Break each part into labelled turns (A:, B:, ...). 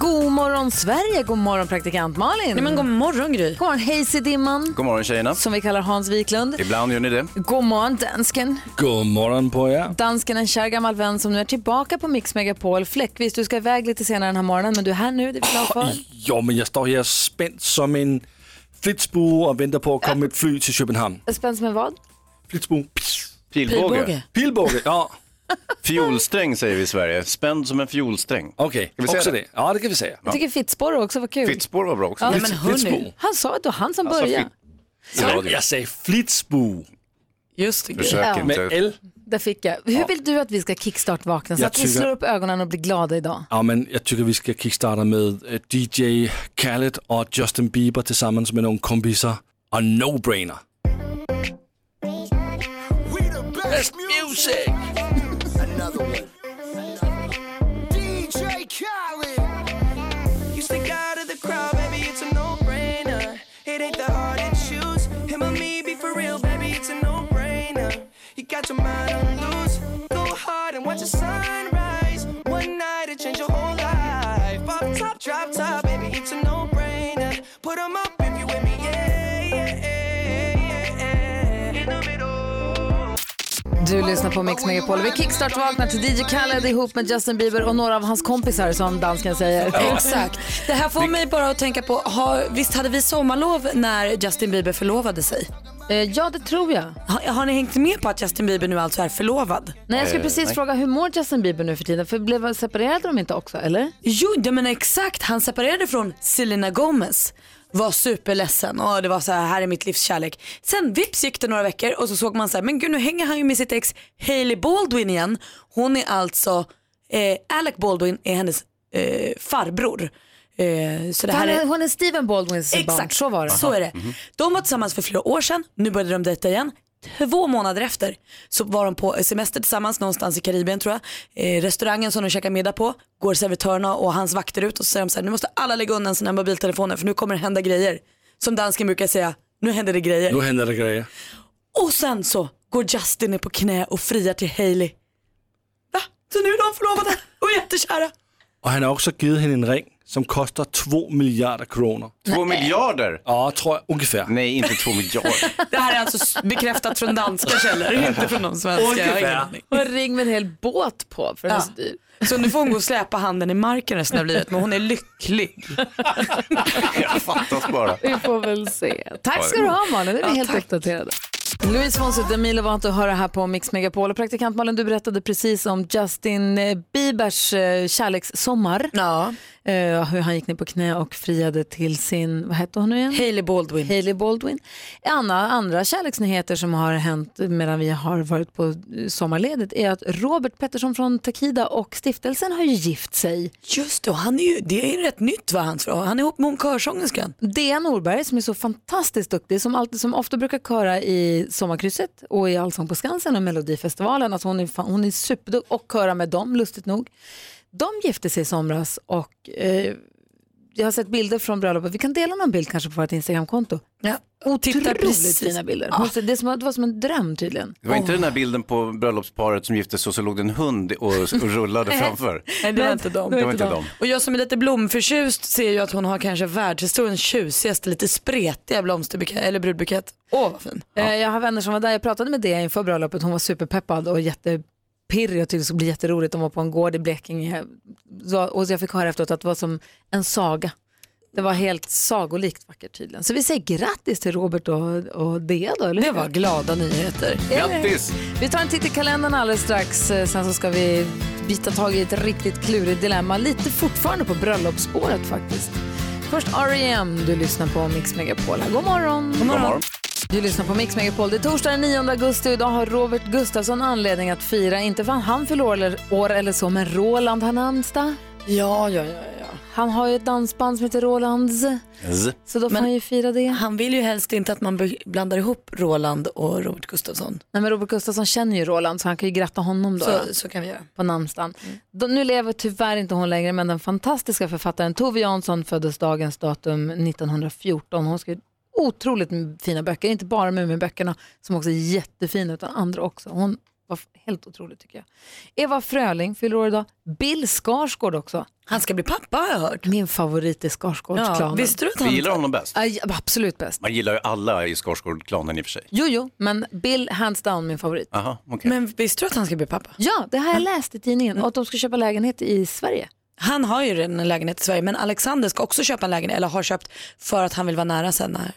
A: God morgon Sverige, god morgon praktikant Malin.
B: Nej, men god morgon Gry.
A: God morgon Hayes-dimman,
C: God morgon tjejerna.
A: som vi kallar Hans Wiklund.
C: Ibland gör ni det.
A: God morgon dansken.
D: God morgon på er.
A: Dansken är en kär gammal vän som nu är tillbaka på Mix Megapol. Fläckvis, du ska iväg lite senare den här morgonen men du är här nu, det är vi glada för.
D: Jo, men jag står här spänd som en flitsbue och väntar på att komma ett flyg till Köpenhamn.
A: Spänd som en vad?
D: Flitsbue. Pss.
C: Pilbåge.
D: Pilbåge, ja.
C: Fiolsträng säger vi i Sverige. Spänd som en fiolsträng.
D: Okej,
C: vi säga
D: också
C: det?
D: det. Ja, det kan vi säga.
A: Jag tycker Fittspår också var kul.
C: Fittspår var bra också.
A: Ja,
C: Ja,
A: men
D: Flits-
B: hörni.
D: flitsbue.
A: Han sa att det var han som
C: Alltså,
A: började.
C: Ja,
D: Jag säger flitsbue
B: Just det, Gry.
C: Försök
A: Ja.
C: inte.
D: med L.
A: Där fick jag. Hur vill du att vi ska kickstart-vakna så
D: Jag
A: att vi
D: tycker-
A: slår upp ögonen och blir glada idag?
D: Ja, men jag tycker vi ska kickstarta med eh, DJ Khaled och Justin Bieber tillsammans med någon kompisar. Och No-brainer. Best music!
E: DJ Khaled. You stick out of the crowd, baby, it's a no-brainer. It ain't that hard to choose. Him or me, be for real, baby, it's a no-brainer. You got your mind on loose. Go hard and watch the sunrise. One night, it change your whole life. Pop top, drop top, baby, it's a no-brainer. Put 'em up if you with me, yeah, yeah, yeah, yeah. In the middle.
A: Du lyssnar på Mix Megapol och vi kickstart-vaknar till DJ Khaled ihop med Justin Bieber och några av hans kompisar som dansken säger.
B: Exakt. Det här får mig bara att tänka på, har, visst hade vi sommarlov när Justin Bieber förlovade sig?
A: Eh, Ja, det tror jag.
B: Har, har ni hängt med på att Justin Bieber nu alltså är förlovad?
A: Nej, jag skulle precis fråga hur mår Justin Bieber nu för tiden? För blev separerade de inte också, eller?
B: Jo, jag menar exakt. Han separerade från Selena Gomez. Var superledsen och det var så här, här är mitt livs kärlek. Sen vips gick det några veckor och så såg man så här, men gud nu hänger han ju med sitt ex Hailey Baldwin igen. Hon är alltså, eh, Alec Baldwin är hennes eh, farbror. Eh, så det här
A: Hon
B: är...
A: är, hon är Steven Baldwins barn, så var det. Mhm.
B: Så är det. De var tillsammans för flera år sedan, nu började de dejta igen. Två månader efter så var de på semester tillsammans någonstans i Karibien tror jag. Eh, restaurangen som de käkar middag på går servitörerna och hans vakter ut och så säger de så här, nu måste alla lägga undan sina mobiltelefoner för nu kommer det hända grejer. Som dansken brukar säga, nu händer det grejer.
D: Nu händer det grejer.
B: Och sen så går Justin ner på knä och friar till Hailey. Va? Så nu är de förlovade och jättekära.
D: Och han har också givit henne en ring som kostar 2 miljarder kronor.
C: Två miljarder?
D: Ja, tror jag ungefär.
C: Nej, inte två miljarder.
B: Det här är alltså s- bekräftat från danska källor, inte från de svenska. Jag har ingen aning.
A: Och ring med en hel båt på för den är
B: Ja.
A: så dyr.
B: Så nu får hon gå och släpa handen i marken resten av livet, men hon är lycklig.
C: Fattas bara.
A: Vi får väl se. Tack ska du ha Malin, nu är vi helt uppdaterade. Louise Fonsi och Demi Lovato hör det här på Mix Megapol. Och praktikant Malin, du berättade precis om Justin eh, Biebers eh, kärlekssommar.
B: Ja.
A: Eh, hur han gick ner på knä och friade till sin, vad hette hon nu igen?
B: Hailey Baldwin.
A: Hailey Baldwin. Anna, andra kärleksnyheter som har hänt medan vi har varit på eh, sommarledigt är att Robert Pettersson från Takida och stiftelsen har ju gift sig.
B: Just det, och han är ju, det är ju rätt nytt va, hans Han är ihop med hon körsångerskan.
A: Dea Norberg som är så fantastiskt duktig, som, alltid, som ofta brukar köra i Sommarkrysset och i Allsång på Skansen och Melodifestivalen. Alltså hon, är fan, hon är superduktig och köra med dem, lustigt nog. De gifte sig i somras och eh, jag har sett bilder från bröllopet. Vi kan dela någon bild kanske på vårt Instagramkonto.
B: Ja. Tittar
A: Otroligt
B: precis.
A: fina bilder. Hon ser- Det, är som, det var som en dröm tydligen.
C: Det var inte den där bilden på bröllopsparet som gifte sig och så låg det en hund och, och rullade framför.
B: Nej, det var inte
C: Det
B: dem.
C: var inte dem.
B: Och jag som är lite blomförtjust ser ju att hon har kanske världshistoriens tjusigaste, lite spretiga blomsterbukett, eller brudbukett. Åh vad fin.
A: Eh, Jag har vänner som var där, jag pratade med det inför bröllopet, hon var superpeppad och jättepirrig och tyckte det skulle bli jätteroligt. De var på en gård i Blekinge Så- och jag fick höra efteråt att det var som en saga. Det var helt sagolikt vackert tydligen. Så vi säger grattis till Robert och, och Dea då, eller
B: Det
A: hur?
B: var glada nyheter.
C: Grattis!
A: Vi tar en titt i kalendern alldeles strax, eh, sen så ska vi bita tag i ett riktigt klurigt dilemma, lite fortfarande på bröllopsspåret faktiskt. Först R.E.M. du lyssnar på Mix Megapol. här. God morgon! God
C: God morgon.
A: Du lyssnar på Mix Megapol. Det är torsdag den 9 augusti och idag har Robert Gustafsson anledning att fira. Inte för att han fyller år eller, år eller så, men Roland har namnsdag.
B: Ja, ja, ja. ja.
A: Han har ju ett dansband som heter Rolands.
C: Z.
A: Så då får
B: Men-
A: han ju fira det.
B: Han vill ju helst inte att man be- blandar ihop Roland och Robert Gustafsson.
A: Nej, men Robert Gustafsson känner ju Roland så han kan ju gratta honom då. då.
B: Så, så kan vi göra. Mm.
A: på namnsdagen. Då- Nu lever tyvärr inte hon längre, men den fantastiska författaren Tove Jansson föddes dagens datum 1914. Hon skrev otroligt m- fina böcker, inte bara Muminböckerna som också är jättefina, utan andra också. Hon var f- helt otrolig tycker jag. Eva Fröling fyller år idag. Bill Skarsgård också.
B: Han ska bli pappa har jag hört.
A: Min favorit i
B: Ja,
A: Skarsgårdsklanen.
B: visste du att
C: Vi
B: han...
C: gillar honom bäst.
A: Ja, j- absolut bäst.
C: Man gillar ju alla i Skarsgård-klanen i och för sig.
A: Jo, jo, men Bill hands down min favorit.
C: Aha, okej.
B: Men visste du att han ska bli pappa? Mm.
A: Ja, det här jag läst i tidningen och att de ska köpa lägenhet i Sverige.
B: Han har ju redan en lägenhet i Sverige men Alexander ska också köpa en lägenhet, eller har köpt, för att han vill vara nära sen. När...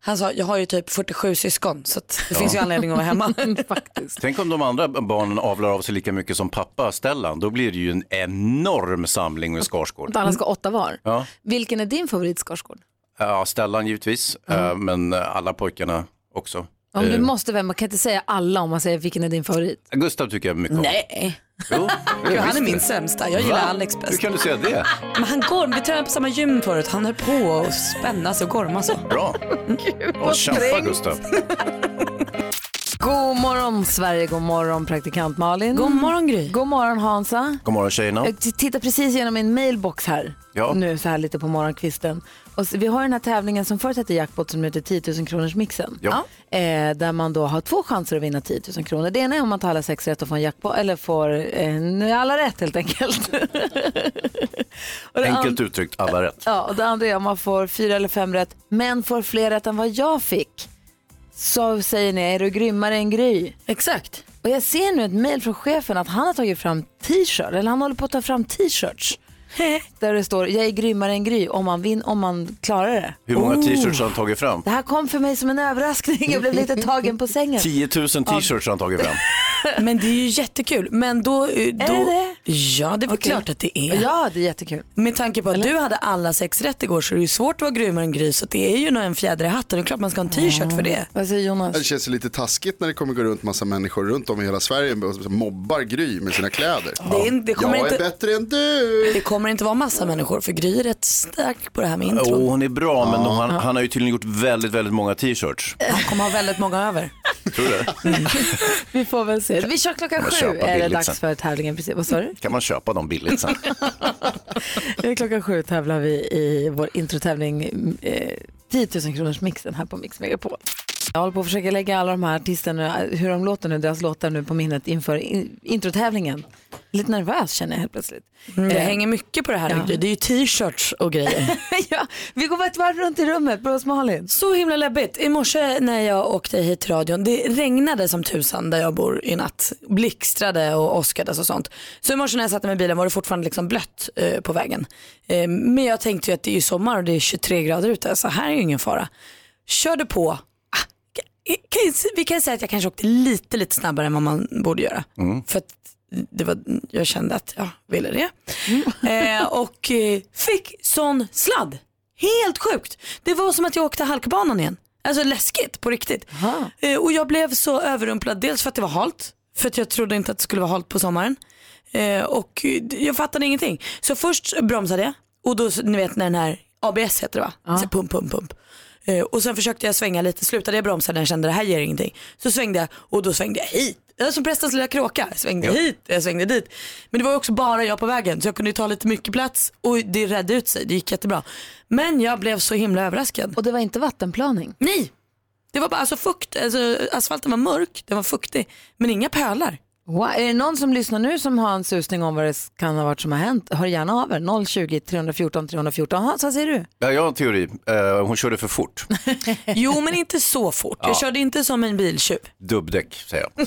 B: Han sa, jag har ju typ 47 syskon så att det finns ju anledning att vara hemma.
A: Faktiskt.
C: Tänk om de andra barnen avlar av sig lika mycket som pappa Stellan. Då blir det ju en enorm samling med Skarsgård.
A: Att alla
B: Mm.
A: ska ha åtta var.
C: Ja.
A: Vilken är din favorit Skarsgård?
C: Ja, Stellan givetvis, eh, men eh, alla pojkarna också.
A: Om du
C: Eh,
A: måste välja, man kan inte säga alla om man säger vilken är din favorit.
C: Gustav tycker jag mycket om.
B: Nej,
C: Jo,
B: Gud,
C: jag
B: han är
C: visste
B: min
C: det.
B: sämsta. Jag
C: Va?
B: gillar Alex
C: Hur
B: bäst.
C: kan du säga det?
B: Men han går, vi tränade på samma gym förut, han höll på att spännas och gorma så.
C: Bra. Och kämpa Gustav.
A: God morgon Sverige, god morgon praktikant Malin.
B: God morgon Gry.
A: God morgon Hansa.
C: God morgon tjejerna.
A: Jag Eh, t- tittar precis genom min mailbox här
C: Ja.
A: nu så här lite på morgonkvisten. Och så, vi har den här tävlingen som förut hette Jackpot som nu heter 10 000 kronors mixen.
C: Ja.
A: Eh, där man då har två chanser att vinna 10 000 kronor. Det ena är om man tar alla sex rätt och får en jackpot, eller får eh, alla rätt helt enkelt. och det
C: Enkelt uttryckt, alla rätt.
A: Ja, och det andra är om man får fyra eller fem rätt, men får fler rätt än vad jag fick. Så säger ni, är du grymmare än Gry?
B: Exakt.
A: Och jag ser nu ett mejl från chefen att han har tagit fram t-shirt, eller han håller på att ta fram t-shirts. Där det står, jag är grymmare än Gry om man, vin- om man klarar det.
C: Hur många t-shirts har han tagit fram?
A: Det här kom för mig som en överraskning, jag blev lite tagen på sängen.
C: 10 000 t-shirts har han tagit fram.
B: Men det är ju jättekul. Men då, eh, då...
A: det det?
B: Ja, det är väl klart att det är.
A: Ja, det är jättekul.
B: Med tanke på att du hade alla sex rätt igår så är det ju svårt att vara grymmare än Gry så det är ju nog en fjäder i hatten. Det är klart man ska ha en t-shirt för det.
A: Vad säger Jonas?
F: Det känns ju lite taskigt när det kommer gå runt massa människor runt om i hela Sverige och som mobbar Gry med sina kläder.
B: Det, är, det, kommer
F: Jag är
B: inte,
F: bättre än du!
B: det kommer inte vara massa människor för Gry är rätt stark på det här med
C: Jo,
B: intron.
C: hon är bra, men han, han har ju tydligen gjort väldigt, väldigt många t-shirts.
B: Han kommer ha väldigt många över.
C: Tror du det?
A: Vi får väl se. Vi kör klockan
C: Kan man
A: sju, är
C: köpa
A: det
C: billigt
A: dags
C: sen?
A: för tävlingen. Precis. Vad sa du?
C: Kan man köpa dem billigt sen?
A: Det är Klockan sju tävlar vi i vår introtävling eh, 10 000 kronors mixen här på Mix Megapol. Jag håller på att försöka lägga alla de här artisterna, hur de låter nu, deras låtar nu på minnet inför in, introtävlingen. Lite nervös känner jag helt plötsligt. Eh,
B: Det Eh, hänger mycket på det här med Gry. Det är ju t-shirts och grejer.
A: ja, vi går bara ett varv runt i rummet, Brås Malin.
B: Så himla läbbigt. I morse när jag åkte hit till radion, det regnade som tusan där jag bor i natt. Blixtrade och åskades och sånt. Så i morse när jag satte mig i bilen var det fortfarande liksom blött eh, på vägen. Eh, men jag tänkte ju att det är ju sommar och det är 23 grader ute så här är ju ingen fara. Körde på. Ah, kan- kan- Vi kan säga att jag kanske åkte lite, lite snabbare än vad man borde göra. För att det var, jag kände att jag ville det. Eh, och eh, fick sån sladd. Helt sjukt. Det var som att jag åkte halkbanan igen. Alltså läskigt på riktigt. Eh, och jag blev så överrumplad. Dels för att det var halt. För att jag trodde inte att det skulle vara halt på sommaren. Eh, och eh, jag fattade ingenting. Så först bromsade jag. Och då, ni vet när den här ABS heter det va? Så pump, pump, pump. Eh, och sen försökte jag svänga lite. Slutade jag bromsa när jag kände det här ger ingenting. Så svängde jag och då svängde jag hit. Jag som prästens lilla kråka. Jag svängde hit, jag svängde dit. Men det var ju också bara jag på vägen så jag kunde ju ta lite mycket plats och det redde ut sig. Det gick jättebra. Men jag blev så himla överraskad.
A: Och det var inte vattenplaning.
B: Nej! Det var bara alltså fukt, alltså, asfalten var mörk, den var fuktig, men inga pölar.
A: Wow. Är det någon som lyssnar nu som har en susning om vad det kan ha varit som har hänt? Hör gärna av er. 020 314 314. Hans, vad säger du?
C: Ja, jag har en teori. Eh, hon körde för fort.
B: Jo men inte så fort, jag körde inte som en biltjuv.
C: Dubbdäck, säger jag.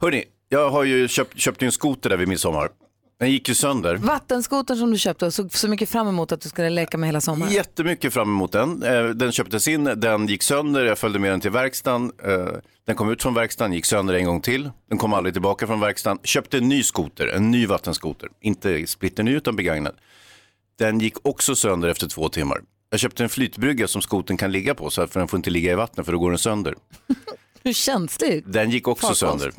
C: Hörni, jag har ju köpt, köpte ju en skoter där vid midsommar. Den gick ju sönder.
A: Vattenskotern som du köpte och såg så mycket fram emot att du skulle leka med hela sommaren.
C: Jättemycket fram emot den. Eh, Den köptes in, den gick sönder, jag följde med den till verkstaden. Eh, Den kom ut från verkstaden, gick sönder en gång till. Den kom aldrig tillbaka från verkstaden. Köpte en ny skoter, en ny vattenskoter. Inte splitterny utan begagnad. Den gick också sönder efter två timmar. Jag köpte en flytbrygga som skoten kan ligga på, så här, för den får inte ligga i vattnet för då går den sönder.
A: Hur känsligt?
C: Den gick också
A: Farkost.
C: sönder.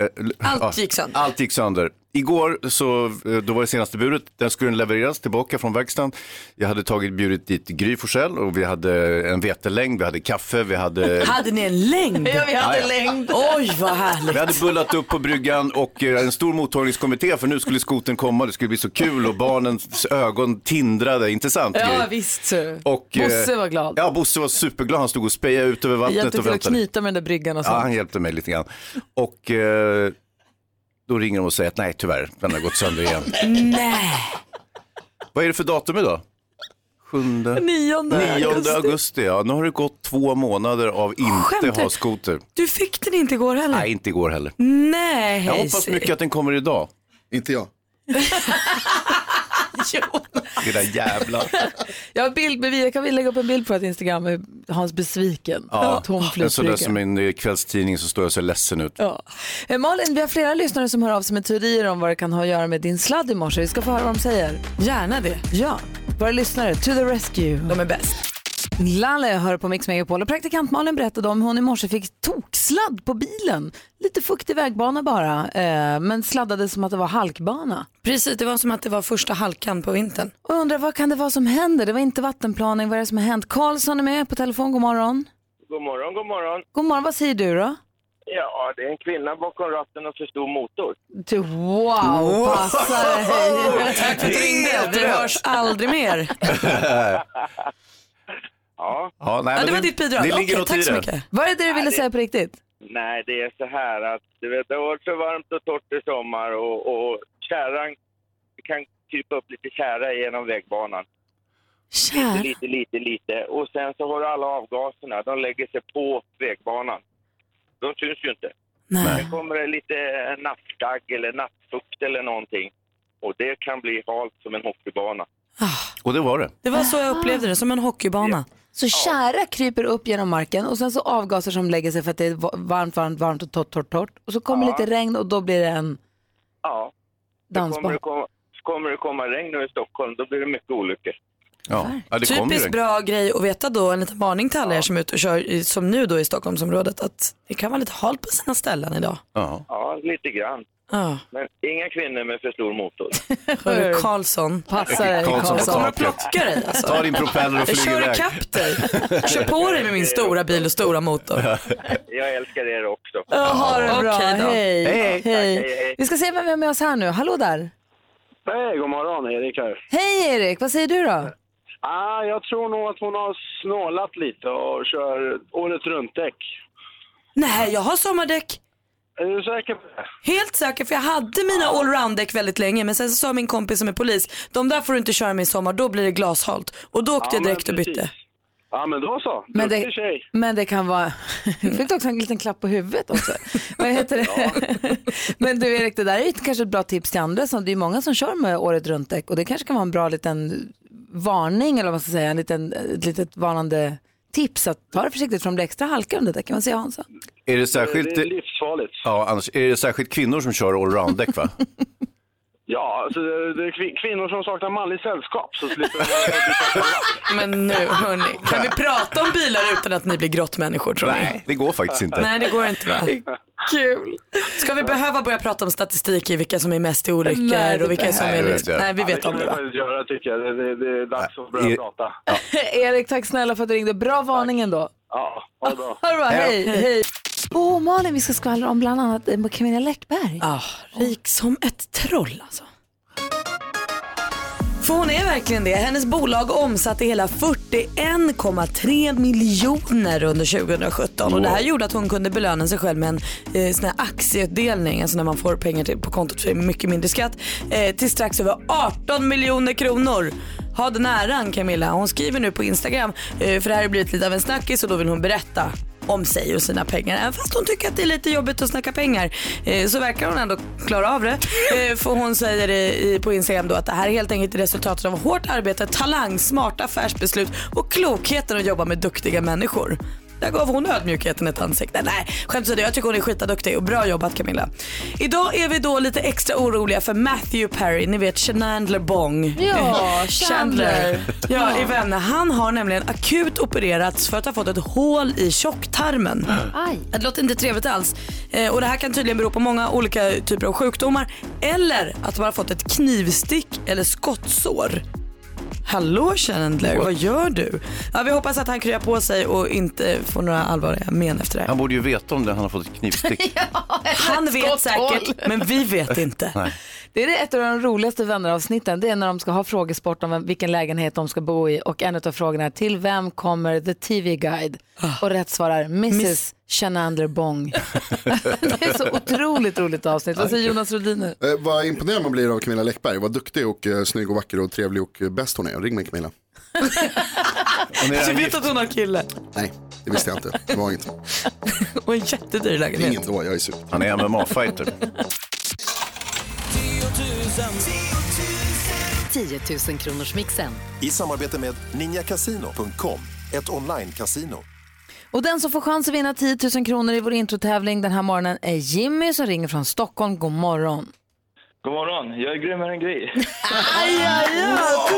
C: Eh, l-
B: Allt
C: ja,
B: gick sönder.
C: Allt gick sönder. Igår så, eh, då var det senaste budet, den skulle den levereras tillbaka från verkstaden. Jag hade tagit bjudit dit Gry Forssell och vi hade en vetelängd, vi hade kaffe, vi hade
B: Hade ni en längd?
A: Eh. Ja, vi hade längd.
B: Oj vad
C: Vi
B: härligt.
C: hade bullat upp på bryggan och eh, en stor mottagningskommitté för nu skulle skoten komma, det skulle bli så kul och barnens ögon tindrade, inte sant?
A: Ja,
C: Gry?
A: visst. du.
C: Och, eh,
A: Bosse var glad.
C: Ja, Bosse var superglad, han stod och spejade ut över
A: Jag
C: vattnet
A: hjälpte
C: och
A: till att
C: väntade.
A: knyta med den där bryggan och
C: Ja,
A: sånt.
C: han hjälpte mig lite grann. Och eh, då ringer de och säger att nej tyvärr, den har gått sönder igen.
B: Nej.
C: Vad är det för datum idag? Sjunde?
A: Nionde.
C: Nionde augusti, ja. Nu har det gått två månader av
B: Ah, Skämtar
C: inte
B: du?
C: ha skoter.
B: Du fick den inte igår heller?
C: Nej, inte igår heller.
B: Nej.
C: Jag hoppas mycket att den kommer idag.
G: Inte jag.
C: Det där jävla...
A: Jag har bildbevis, jag kan väl lägga upp en bild på ett Instagram med Hans besviken.
C: Ja,
A: Tom
C: en sån där
A: flygbrygga.
C: som i en eh, kvällstidning så står jag så ledsen ut.
A: Ja. Eh, Malin, vi har flera lyssnare som hör av sig med teorier om vad det kan ha att göra med din sladd i morse. Vi ska få höra vad de säger.
B: Gärna det.
A: Ja, våra lyssnare, to the rescue.
B: De är bäst.
A: Lalle hör på Mix Megapol och praktikant Malin berättade om hur hon i morse fick toksladd på bilen. Lite fuktig vägbana bara, eh, men sladdade som att det var halkbana.
B: Precis, det var som att det var första halkan på vintern.
A: Och jag undrar vad kan det vara som händer? Det var inte vattenplaning, vad är det som har hänt? Karlsson är med på telefon, god morgon.
H: God morgon, god morgon.
A: God morgon, vad säger du då?
H: Ja, det är en kvinna bakom ratten och för stor motor.
A: Du, Typ, wow, passar dig.
B: Tack för att du ringde. Vi hörs aldrig mer.
H: Ja.
C: Ja, nej,
B: Ja,
C: men
B: det var ditt bidrag.
C: Det
B: Okej,
C: ligger något i
B: tack så
C: det.
B: mycket.
A: Vad är det du ville säga på riktigt?
H: Nej, det är så här att du vet, det har varit för varmt och torrt i sommar och, och kärran, det kan krypa upp lite kära genom vägbanan.
B: Kär.
H: Lite, lite, lite. Och sen så har du alla avgaserna, de lägger sig på vägbanan. De syns ju inte.
B: Nej.
H: Kommer det lite nattdagg eller nattfukt eller någonting och det kan bli halt som en hockeybana.
C: Och det var det.
B: Det var så jag upplevde det, som en hockeybana.
A: Så kära kryper upp genom marken och sen så avgaser som lägger sig för att det är va- varmt, varmt, varmt och torrt, torrt, torrt. Och så kommer lite regn och då blir det en
H: Ja, kommer
A: dansbana.
H: det, komma, kommer det komma regn nu i Stockholm då blir det mycket olyckor.
C: Ja, ja det kom ju.
B: Typiskt
C: det.
B: bra grej att veta då, en liten varning till alla er som är ute och kör, i- som nu då i Stockholmsområdet, att det kan vara lite halt på sina ställen idag.
C: Ja.
H: Ja, lite grann.
B: Ja,
H: Men inga kvinnor med för stor motor.
B: Hörru Karlsson.
A: Passar dig
C: Karlsson på
A: Karlsson.
B: Kommer att
C: taket.
B: plocka dig alltså.
C: Ta din propeller och
B: Jag
C: flyg
B: kör
C: iväg.
B: ikapp dig. Kör på dig med min stora bil och stora motor.
H: Jag älskar er också.
A: Ja, ha det bra,
B: Okej då.
A: hej.
C: Hej.
H: Tack, hej, hej.
A: Vi ska se vem vi har med oss här nu. Hallå där.
H: Hej, god morgon Erik här.
A: Hej Erik, vad säger du då?
H: Ah, jag tror nog att hon har snålat lite och kör året runt-däck.
B: Nej, jag har sommardäck.
H: Är du säker på det?
B: Helt säker, för jag hade mina allround-däck väldigt länge men sen så sa min kompis som är polis, de där får du inte köra med i sommar, då blir det glashalt. Och då åkte jag direkt och bytte.
H: Ja, men då så.
A: Men det-
H: Duktig tjej.
A: Men det kan vara... Du fick också en liten klapp på huvudet också. Vad heter det? Men du Erik, det där är ju kanske ett bra tips till andra. Så det är ju många som kör med året runt däck och det kanske kan vara en bra liten varning eller vad man ska säga. En liten, ett litet varnande tips att ta det försiktigt för om det blir extra halka under däcken. Vad säger Hansa?
C: Är det
H: Det är
C: särskilt,
H: livsfarligt.
C: ja, annars, är det särskilt kvinnor som kör allround-däck va?
H: Ja, alltså, det det är kvin- kvinnor som saknar manligt sällskap. Så slipper de...
B: Men nu hörni, kan vi prata om bilar utan att ni blir grottmänniskor tror ni?
C: Det går faktiskt inte.
B: Nej det går inte va?
A: Kul!
B: Ska vi behöva börja prata om statistik i vilka som är mest i olyckor
A: Nej, det
B: och vilka som
C: behöver
B: är
C: vi
B: lite...
C: inte.
B: Nej vi
H: det
B: vet
H: kan
B: om det
H: vi
B: va?
H: faktiskt göra tycker jag. Det, det, det är dags att börja
C: I-
H: prata.
A: Erik, tack snälla för att du ringde. Bra varning ändå.
H: Ja, ha det bra.
A: Ha det bra, hej! hej. Åh Malin, vi ska skvallra om bland annat eh, Camilla Läckberg.
B: Ah, rik som ett troll alltså. För hon är verkligen det. Hennes bolag omsatte hela 41,3 miljoner under 2017. Och det här gjorde att hon kunde belöna sig själv med en eh, sån här aktieutdelning, alltså när man får pengar till, på kontot för mycket mindre skatt, eh, till strax över 18 miljoner kronor. Ha den äran Camilla. Hon skriver nu på Instagram, eh, för det här har blivit lite av en snackis och då vill hon berätta om sig och sina pengar. Även fast hon tycker att det är lite jobbigt att snacka pengar eh, så verkar hon ändå klara av det. Eh, För hon säger i- i- på Instagram då att det här är helt enkelt resultatet av hårt arbete, talang, smarta affärsbeslut och klokheten att jobba med duktiga människor. Där gav hon ödmjukheten ett ansikte. Nej, skämt åsido, jag tycker hon är skitduktig och bra jobbat Camilla. Idag är vi då lite extra oroliga för Matthew Perry, ni vet Chandler Bong. Eh,
A: Ja, Chandler.
B: Ja, i Vänner. Han har nämligen akut opererats för att ha fått ett hål i tjocktarmen.
A: Aj.
B: Det låter inte trevligt alls. Eh, och det här kan tydligen bero på många olika typer av sjukdomar eller att man har fått ett knivstick eller skottsår. Hallå Chandler, vad gör du? Ja, vi hoppas att han kryar på sig och inte får några allvarliga men efter det här.
C: Han borde ju veta om det, han har fått ett knivstick.
B: Han vet säkert, men vi vet inte.
A: Det är ett av de roligaste vänneravsnitten. Det är när de ska ha frågesport om vem- vilken lägenhet de ska bo i och en av frågorna är till vem kommer the TV guide? Och rätt svar är Mrs.
B: Ah. Miss-
A: Chenander Bong. det är så otroligt roligt avsnitt. Vad säger Jonas Rhodiner?
F: Eh, vad imponerad man blir av Camilla Läckberg. Vad duktig och eh, snygg och vacker och trevlig och eh, bäst hon är. Ring mig Camilla.
C: Och när
B: Du
C: han
B: Alltså, vet att hon har kille
F: Nej, det visste jag inte. Det var inget.
B: och en jättedyr lägenhet.
F: Ingen då, jag är sur.
C: Han är MMA-fighter.
I: 10 000 kronors mixen.
J: I samarbete med ninjakasino.com, ett online-casino.
A: Och den som får chans att vinna 10 000 kronor i vår introtävling den här morgonen är Jimmy som ringer från Stockholm. God morgon.
H: God morgon, jag är grymmare än Gry.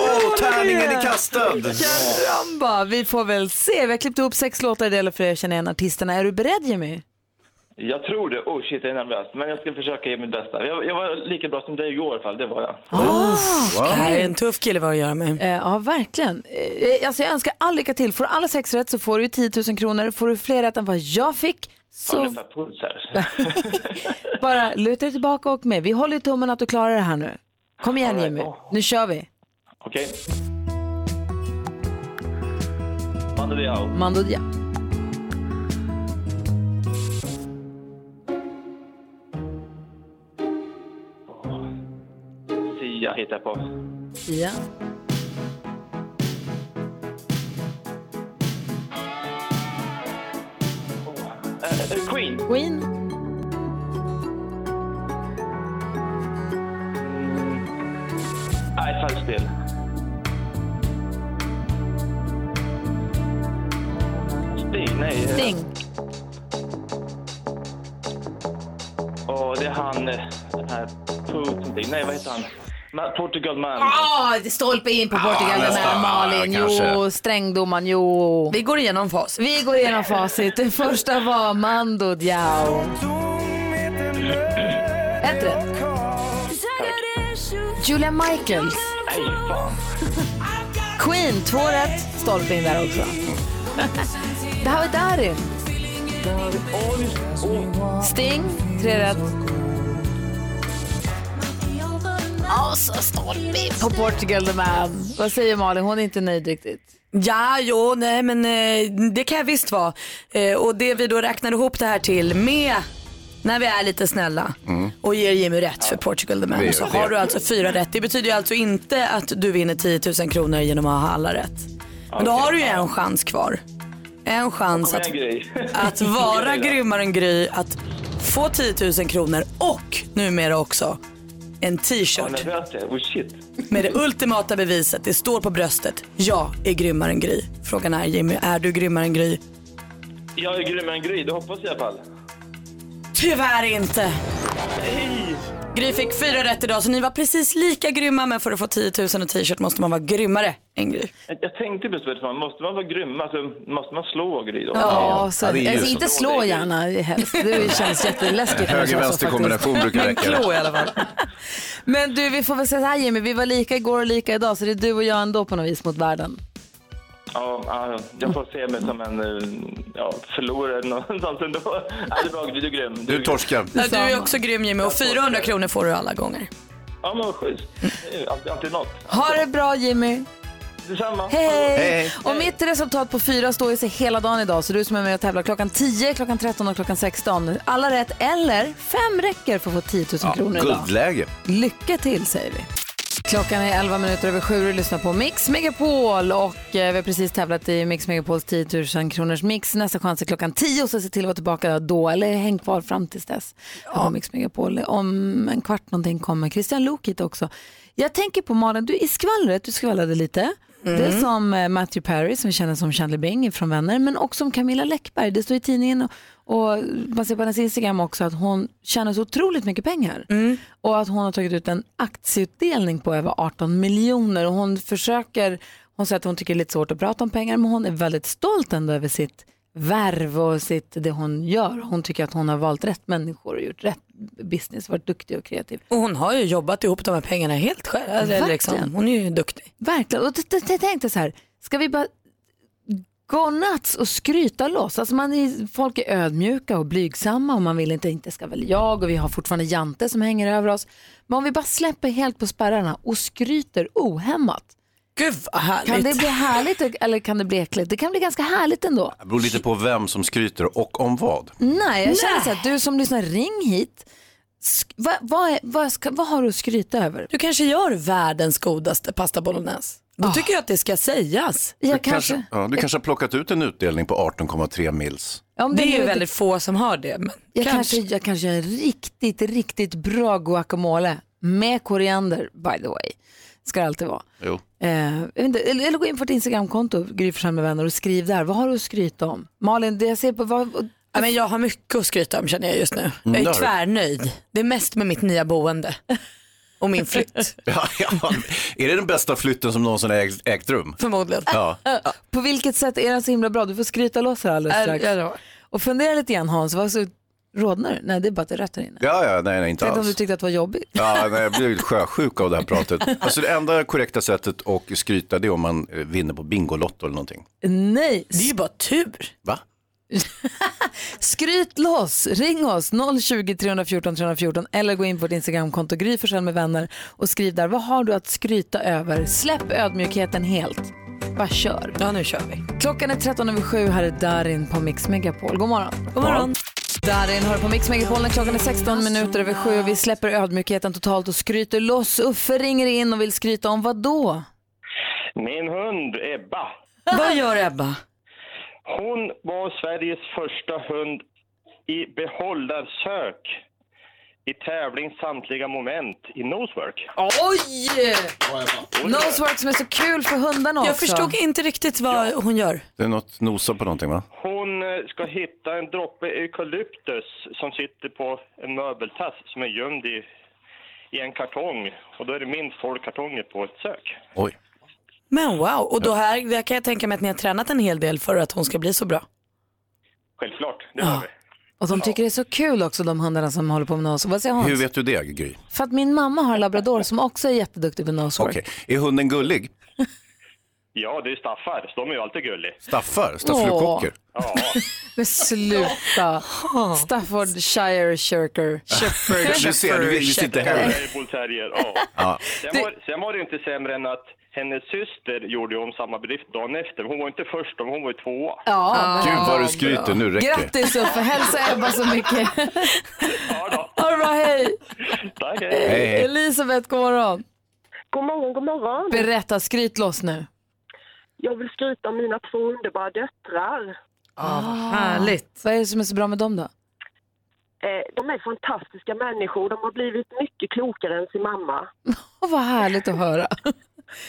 C: Åh, tärningen är kastad!
A: Ramba, vi får väl se. Vi har klippt ihop sex låtar i det gäller för er att känna igen artisterna. Är du beredd Jimmy?
H: Jag tror det. Oh shit, jag är nervös. Men jag ska försöka ge mitt bästa. Jag, jag var lika bra som dig igår i alla fall, det var jag.
B: Det här är en tuff kille vad har att göra med.
A: Eh, ja, verkligen. Eh, alltså, jag önskar all lycka till. Får du alla sex rätt så får du 10 000 kronor. Får du fler rätt än vad jag fick
H: Jag
A: så
H: har nästan puls här.
A: bara luta dig tillbaka och åk med. Vi håller i tummen att du klarar det här nu. Kom igen Jimmy, nu kör vi.
H: Okej. Mando Diao,
A: Mando Dia.
H: Sia hittar jag på.
A: Ja.
H: Eh, Queen,
A: Queen.
H: nej falskt spel. Sting, nej. eh,
A: Sting.
H: Åh, det är han, eh, den här Putin, nej vad heter han? Ma- Portugal Man.
A: Ah, det stolpe in på Portugal den här Malin. Jo,
C: kanske.
A: strängdomaren, jo.
B: Vi går igenom fas.
A: Vi går igenom facit. Det första var Mando Diao. Ett rätt. Julia Michaels.
H: Nej, fan.
A: Queen, två rätt. Stolpe in där också. Det här var Darin. Sting, tre rätt. Och så stolpe in på Portugal the man. Vad säger Malin? Hon är inte nöjd riktigt.
B: Ja, jo, nej men eh, det kan jag visst vara. Eh, och det vi då räknar ihop det här till med när vi är lite snälla och ger Jimmy rätt för Portugal the Man
C: Mm. Det-
B: så
C: det-
B: har du alltså fyra rätt. Det betyder ju alltså inte att du vinner 10 000 kronor genom att ha alla rätt. Men då har du ju en chans kvar. En chans
H: Kom
B: att,
H: igen Gry.
B: att vara grymmare än Gry, att få 10 000 kronor och numera också en
H: Vad
B: t-shirt
H: nervös jag är. Oh shit.
B: med det ultimata beviset. Det står på bröstet. Jag är grymmare än Gry. Frågan är Jimmy, är du grymmare än Gry?
H: Jag är grymmare än Gry, det hoppas jag i alla fall.
B: Tyvärr inte. Gry fick fyra rätt idag så ni var precis lika grymma men för att få 10 000 och t-shirt måste man vara grymmare än Gry.
H: Jag- Jag tänkte precis på det, man måste man vara grym, alltså, måste man slå Gry då?
A: Ja, så,
C: Ja, det är ju
A: alltså,
C: så.
A: inte slå gärna helst. Det känns jätteläskigt. när det känns så
C: Höger-vänster
A: faktiskt.
C: kombination brukar räcka.
B: Klå i alla fall.
A: Men du, vi får väl säga så här Jimmy, vi var lika igår och lika idag så det är du och jag ändå på något vis mot världen.
H: Ja, ja, jag får se mig som en eh, ja, förlorare någonstans ändå. Nej, det är bra, du är grym. Du är
C: Du
H: grym.
C: torskar.
B: Ja, Du är också grym Jimmy och 400 kronor får du alla gånger.
H: Ja, men vad schysst. Det är Alltid, alltid något.
A: Ha det bra Jimmy,
H: Detsamma.
A: hej!
C: Hej.
A: Och mitt resultat på fyra står ju sig hela dagen idag så du som är med och tävlar klockan 10, klockan 13 och klockan 16. Alla rätt eller fem räcker för att få 10 000 kronor idag.
C: Guldläge.
A: Lycka till säger vi. Klockan är 11 minuter över sju och du lyssnar på Mix Megapol och eh, vi har precis tävlat i Mix Megapols 10 000 kronors mix. Nästa chans är klockan 10 så se till att vara tillbaka då eller häng kvar fram tills dess. Här på Mix Megapol. Om en kvart någonting kommer Christian Lok hit också. Jag tänker på Malin, du i skvallret, du skvallrade lite Det är som eh, Matthew Perry som vi känner som Chandler Bing från Vänner, men också som Camilla Läckberg. Det står i tidningen och, och man ser på hennes Instagram också att hon tjänar så otroligt mycket pengar. Och att hon har tagit ut en aktieutdelning på över 18 miljoner och hon försöker, hon säger att hon tycker det är lite svårt att prata om pengar men hon är väldigt stolt ändå över sitt värv och sitt, det hon gör. Hon tycker att hon har valt rätt människor och gjort rätt business, varit duktig och kreativ.
B: Och hon har ju jobbat ihop de här pengarna helt själv. Eller
A: Alltså, Verkligen.
B: liksom, hon är ju duktig.
A: Verkligen. Och t- t- t- tänkte så här, ska vi bara gå nuts och skryta loss? Alltså man är, folk är ödmjuka och blygsamma och man vill inte, inte ska väl jag och vi har fortfarande Jante som hänger över oss. Men om vi bara släpper helt på spärrarna och skryter ohämmat.
B: Gud vad härligt.
A: Kan det bli härligt eller kan det bli äckligt? Det kan bli ganska härligt ändå.
C: Det beror lite på vem som skryter och om vad.
A: Nej, jag känner så här, du som lyssnar, ring hit. Sk- vad, vad, är, vad, ska, vad har du att skryta över?
B: Du kanske gör världens godaste pasta bolognese. Då tycker jag att det ska sägas.
A: Jag
C: ja, du kanske har plockat ut en utdelning på 18,3 mils.
A: Om
B: det,
A: det
B: är ju
A: nu-
B: väldigt få som har det. Men
A: Jag kanske, jag kanske gör en riktigt, riktigt bra guacamole med koriander, by the way. Ska det alltid vara.
C: Jo.
A: Eh, jag vet inte, eller, eller gå in på ditt Instagramkonto, Gry Forssell med vänner, och skriv där. Vad har du att skryta om? Malin, det jag ser på... Vad,
B: Ja, men jag har mycket att skryta om känner jag just nu. Jag
C: Mm, det
B: är
C: har du.
B: tvärnöjd. Det är mest med mitt nya boende och min flytt.
C: Ja, ja. Är det den bästa flytten som någonsin har ägt, ägt rum?
B: Förmodligen.
C: Ja.
A: Eh, På vilket sätt är den så himla bra? Du får skryta loss här alldeles
B: Äh,
A: strax.
B: ja, då.
A: Och fundera lite igen Hans, vad så rodnar du? Nej, det är bara att det är rött här inne.
C: Ja, ja, nej, nej, inte
A: Tänk om du
C: alls.
A: tyckte att det var jobbigt.
C: Ja, nej, jag blev sjösjuk av det här pratet. Alltså det enda korrekta sättet att skryta det är om man eh, vinner på Bingolotto eller någonting.
A: Nej,
B: Det är ju bara tur.
C: Va?
A: Skryt loss, ring oss 020 314 314 eller gå in på vårt Instagramkonto Gry Forssell med vänner och skriv där vad har du att skryta över? Släpp ödmjukheten helt. Bara kör.
B: Ja, nu kör vi.
A: Klockan är 13 över 7. Här är Darin på Mix Megapol. God morgon.
B: God morgon.
A: Darin hör på Mix Megapol när klockan är 16 minuter över 7 och vi släpper ödmjukheten totalt och skryter loss. Uffe ringer in och vill skryta om vad då?
K: Min hund Ebba,
B: Vad gör Ebba?
K: hon var Sveriges första hund i behållarsök i tävling samtliga moment i nosework.
A: Oj! Nosework som är så kul för hundarna också.
B: Jag förstod inte riktigt vad hon gör.
C: Det är något nosa på någonting va?
K: Hon eh, ska hitta en droppe eukalyptus som sitter på en möbeltass som är gömd i, i en kartong. Och då är det minst 12 kartonger på ett sök.
B: Men wow, och då här, där kan jag tänka mig att ni har tränat en hel del för att hon ska bli så bra.
K: Självklart, det har vi.
A: Och de tycker det är så kul också de hundarna som håller på med nosework. Vad säger Hans?
C: Hur vet du det, Gry?
A: För att min mamma har en labrador som också är jätteduktig på nosework.
C: Okej. Är hunden gullig?
K: Ja, det är staffar, så de är ju alltid gulliga.
C: Staffar? Stafflukocker?
A: Men sluta. Staffordshire shirker.
C: Du ser, du visste inte heller.
K: Nej, bullterrier, ja.
C: Ja.
K: Sen var, sen var det inte sämre än att hennes syster gjorde ju om samma bedrift dagen efter. Hon var inte först, hon var ju tvåa.
A: Ja,
C: Gud vad du skryter, nu räcker det.
A: Grattis Uffe, hälsa Ebba så mycket. Ha det bra, hej.
K: Tack,
C: Hej, hej.
A: Elisabeth, god morgon.
L: God morgon, god morgon.
A: Berätta, skryt loss nu.
L: Jag vill skryta om mina två underbara döttrar.
A: Ah. Härligt. Vad är det som är så bra med dem då?
L: Eh, de är fantastiska människor. De har blivit mycket klokare än sin mamma.
A: Åh, vad härligt att höra.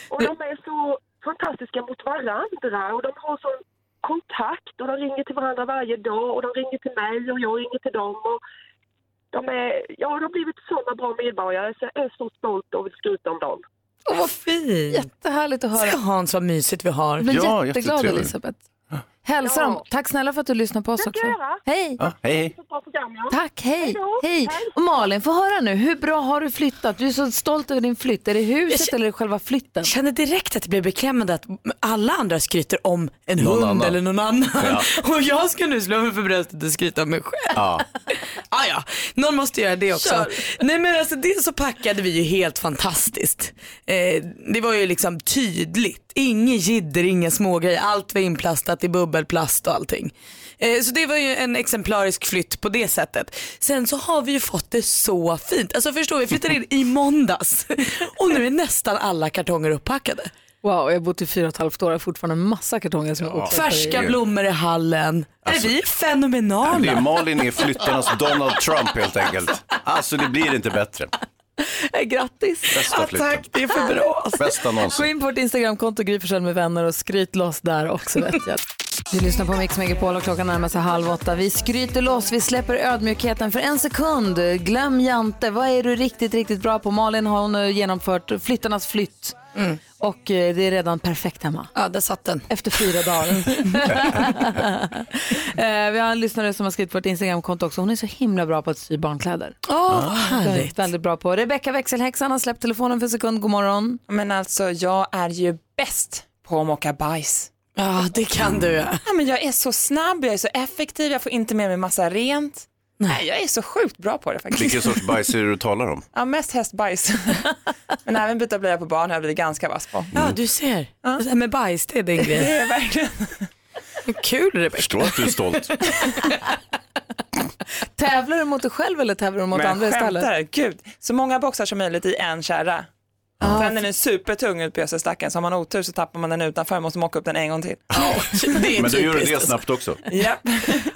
L: Och de är så fantastiska mot varandra och de har sån kontakt och de ringer till varandra varje dag och de ringer till mig och jag ringer till dem. Och de, är, ja, de har blivit såna bra medborgare så jag är så stolt och vill skryta om dem.
A: Åh, vad fint. Jättehärligt att höra.
B: Se Hans vad mysigt vi har.
A: Jag blir jätteglad Elisabeth. Hälsa dem. Tack snälla för att du lyssnar på oss också. Hej.
C: Ja, hej, hej.
A: Tack, hej. Hej. Och Malin, få höra nu. Hur bra har du flyttat? Du är så stolt över din flytt. Är det huset eller själva flytten?
B: Jag känner direkt att det blir beklämmande att alla andra skryter om en hund
A: annan.
B: eller någon annan. Och jag ska nu slå mig för bröstet och skryta om mig själv.
C: Ja.
B: ah, ja. Någon måste göra det också.
E: Kör.
B: Nej men alltså dels så packade vi ju helt fantastiskt. Eh, det var ju liksom tydligt. Inget jidder, inga smågrejer. Allt var inplastat i bubbelplast och allting. Eh, så det var ju en exemplarisk flytt på det sättet. Sen så har vi ju fått det så fint. Alltså förstår vi, vi flyttade in i måndags och nu är nästan alla kartonger upppackade.
A: Wow, jag har bott i fyra och ett halvt år och har fortfarande en massa kartonger som jag
B: Färska blommor i hallen.
M: Alltså,
B: är vi är fenomenala.
C: Det är Malin är flyttarnas Donald Trump helt enkelt. Alltså det blir inte bättre.
B: Eh,
A: Grattis!
C: Bästa
A: Ja,
C: flytten.
A: Tack, det är för bra.
C: Bästa någonsin.
A: Gå in på vårt Instagramkonto, Gry Forssell med vänner och skryt loss där också vet jag. Du lyssnar på Mix Megapol och klockan närmar sig halv åtta. Vi skryter loss, vi släpper ödmjukheten för en sekund. Glöm Jante, vad är du riktigt, riktigt bra på? Malin har hon eh, genomfört flyttarnas flytt. Och eh, det är redan perfekt hemma.
B: Mm. Ja, där satt den.
A: Efter fyra dagar. Eh, vi har en lyssnare som har skrivit på vårt Instagramkonto också. Hon är så himla bra på att sy barnkläder.
B: Åh,
A: Det är
B: härligt.
A: Väldigt bra på. Rebecka växelhäxan har släppt telefonen för en sekund. God morgon.
N: Men alltså jag är ju bäst på att mocka bajs.
B: Ja, det kan du ja.
N: men jag är så snabb, jag är så effektiv, jag får inte med mig massa rent. Nej, jag är så sjukt bra på det faktiskt.
C: Vilken sorts bajs är det du talar om?
N: Ja, mest hästbajs. men även byta blöja på barn har jag blivit ganska vass på.
B: Ja, du ser. Det här med bajs, det är din grej.
N: Det är verkligen.
B: Kul Rebecka.
C: Förstår att du är stolt.
A: Tävlar du mot dig själv eller tävlar du mot
N: Men
A: andra
N: skämtar
A: istället?
N: du? Gud, så många boxar som möjligt i en kärra. Sen är den supertung ut på gödselstacken, så har man otur så tappar man den utanför och måste mocka upp den en gång till.
A: Det är
C: Men du gör
A: typiskt,
C: det
A: alltså.
C: snabbt också.
N: Japp.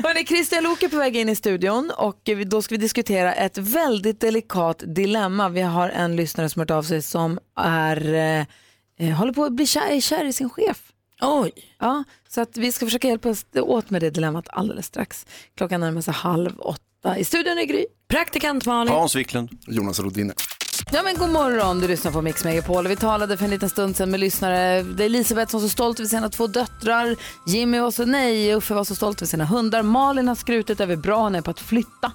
A: Hörrni, Christian Lok är på väg in i studion och eh, vi- då ska vi diskutera ett väldigt delikat dilemma. Vi har en lyssnare som hört av sig som är, eh, eh, håller på att bli kär, är kär i sin chef.
B: Oj.
A: Ja, så att vi ska försöka hjälpas åt med det dilemmat alldeles strax. Klockan närmar sig halv åtta. I studion är Gry.
B: Praktikant Malin.
C: Wiklund.
F: Jonas Rodiner.
A: Ja men god morgon, du lyssnar på Mix Megapol. Vi talade för en liten stund sedan med lyssnare. Det är Elisabeth som var så stolt över sina två döttrar. Jimmy var så, nej, Uffe var så stolt över sina hundar. Malin har skrutit över bra hon är på att flytta.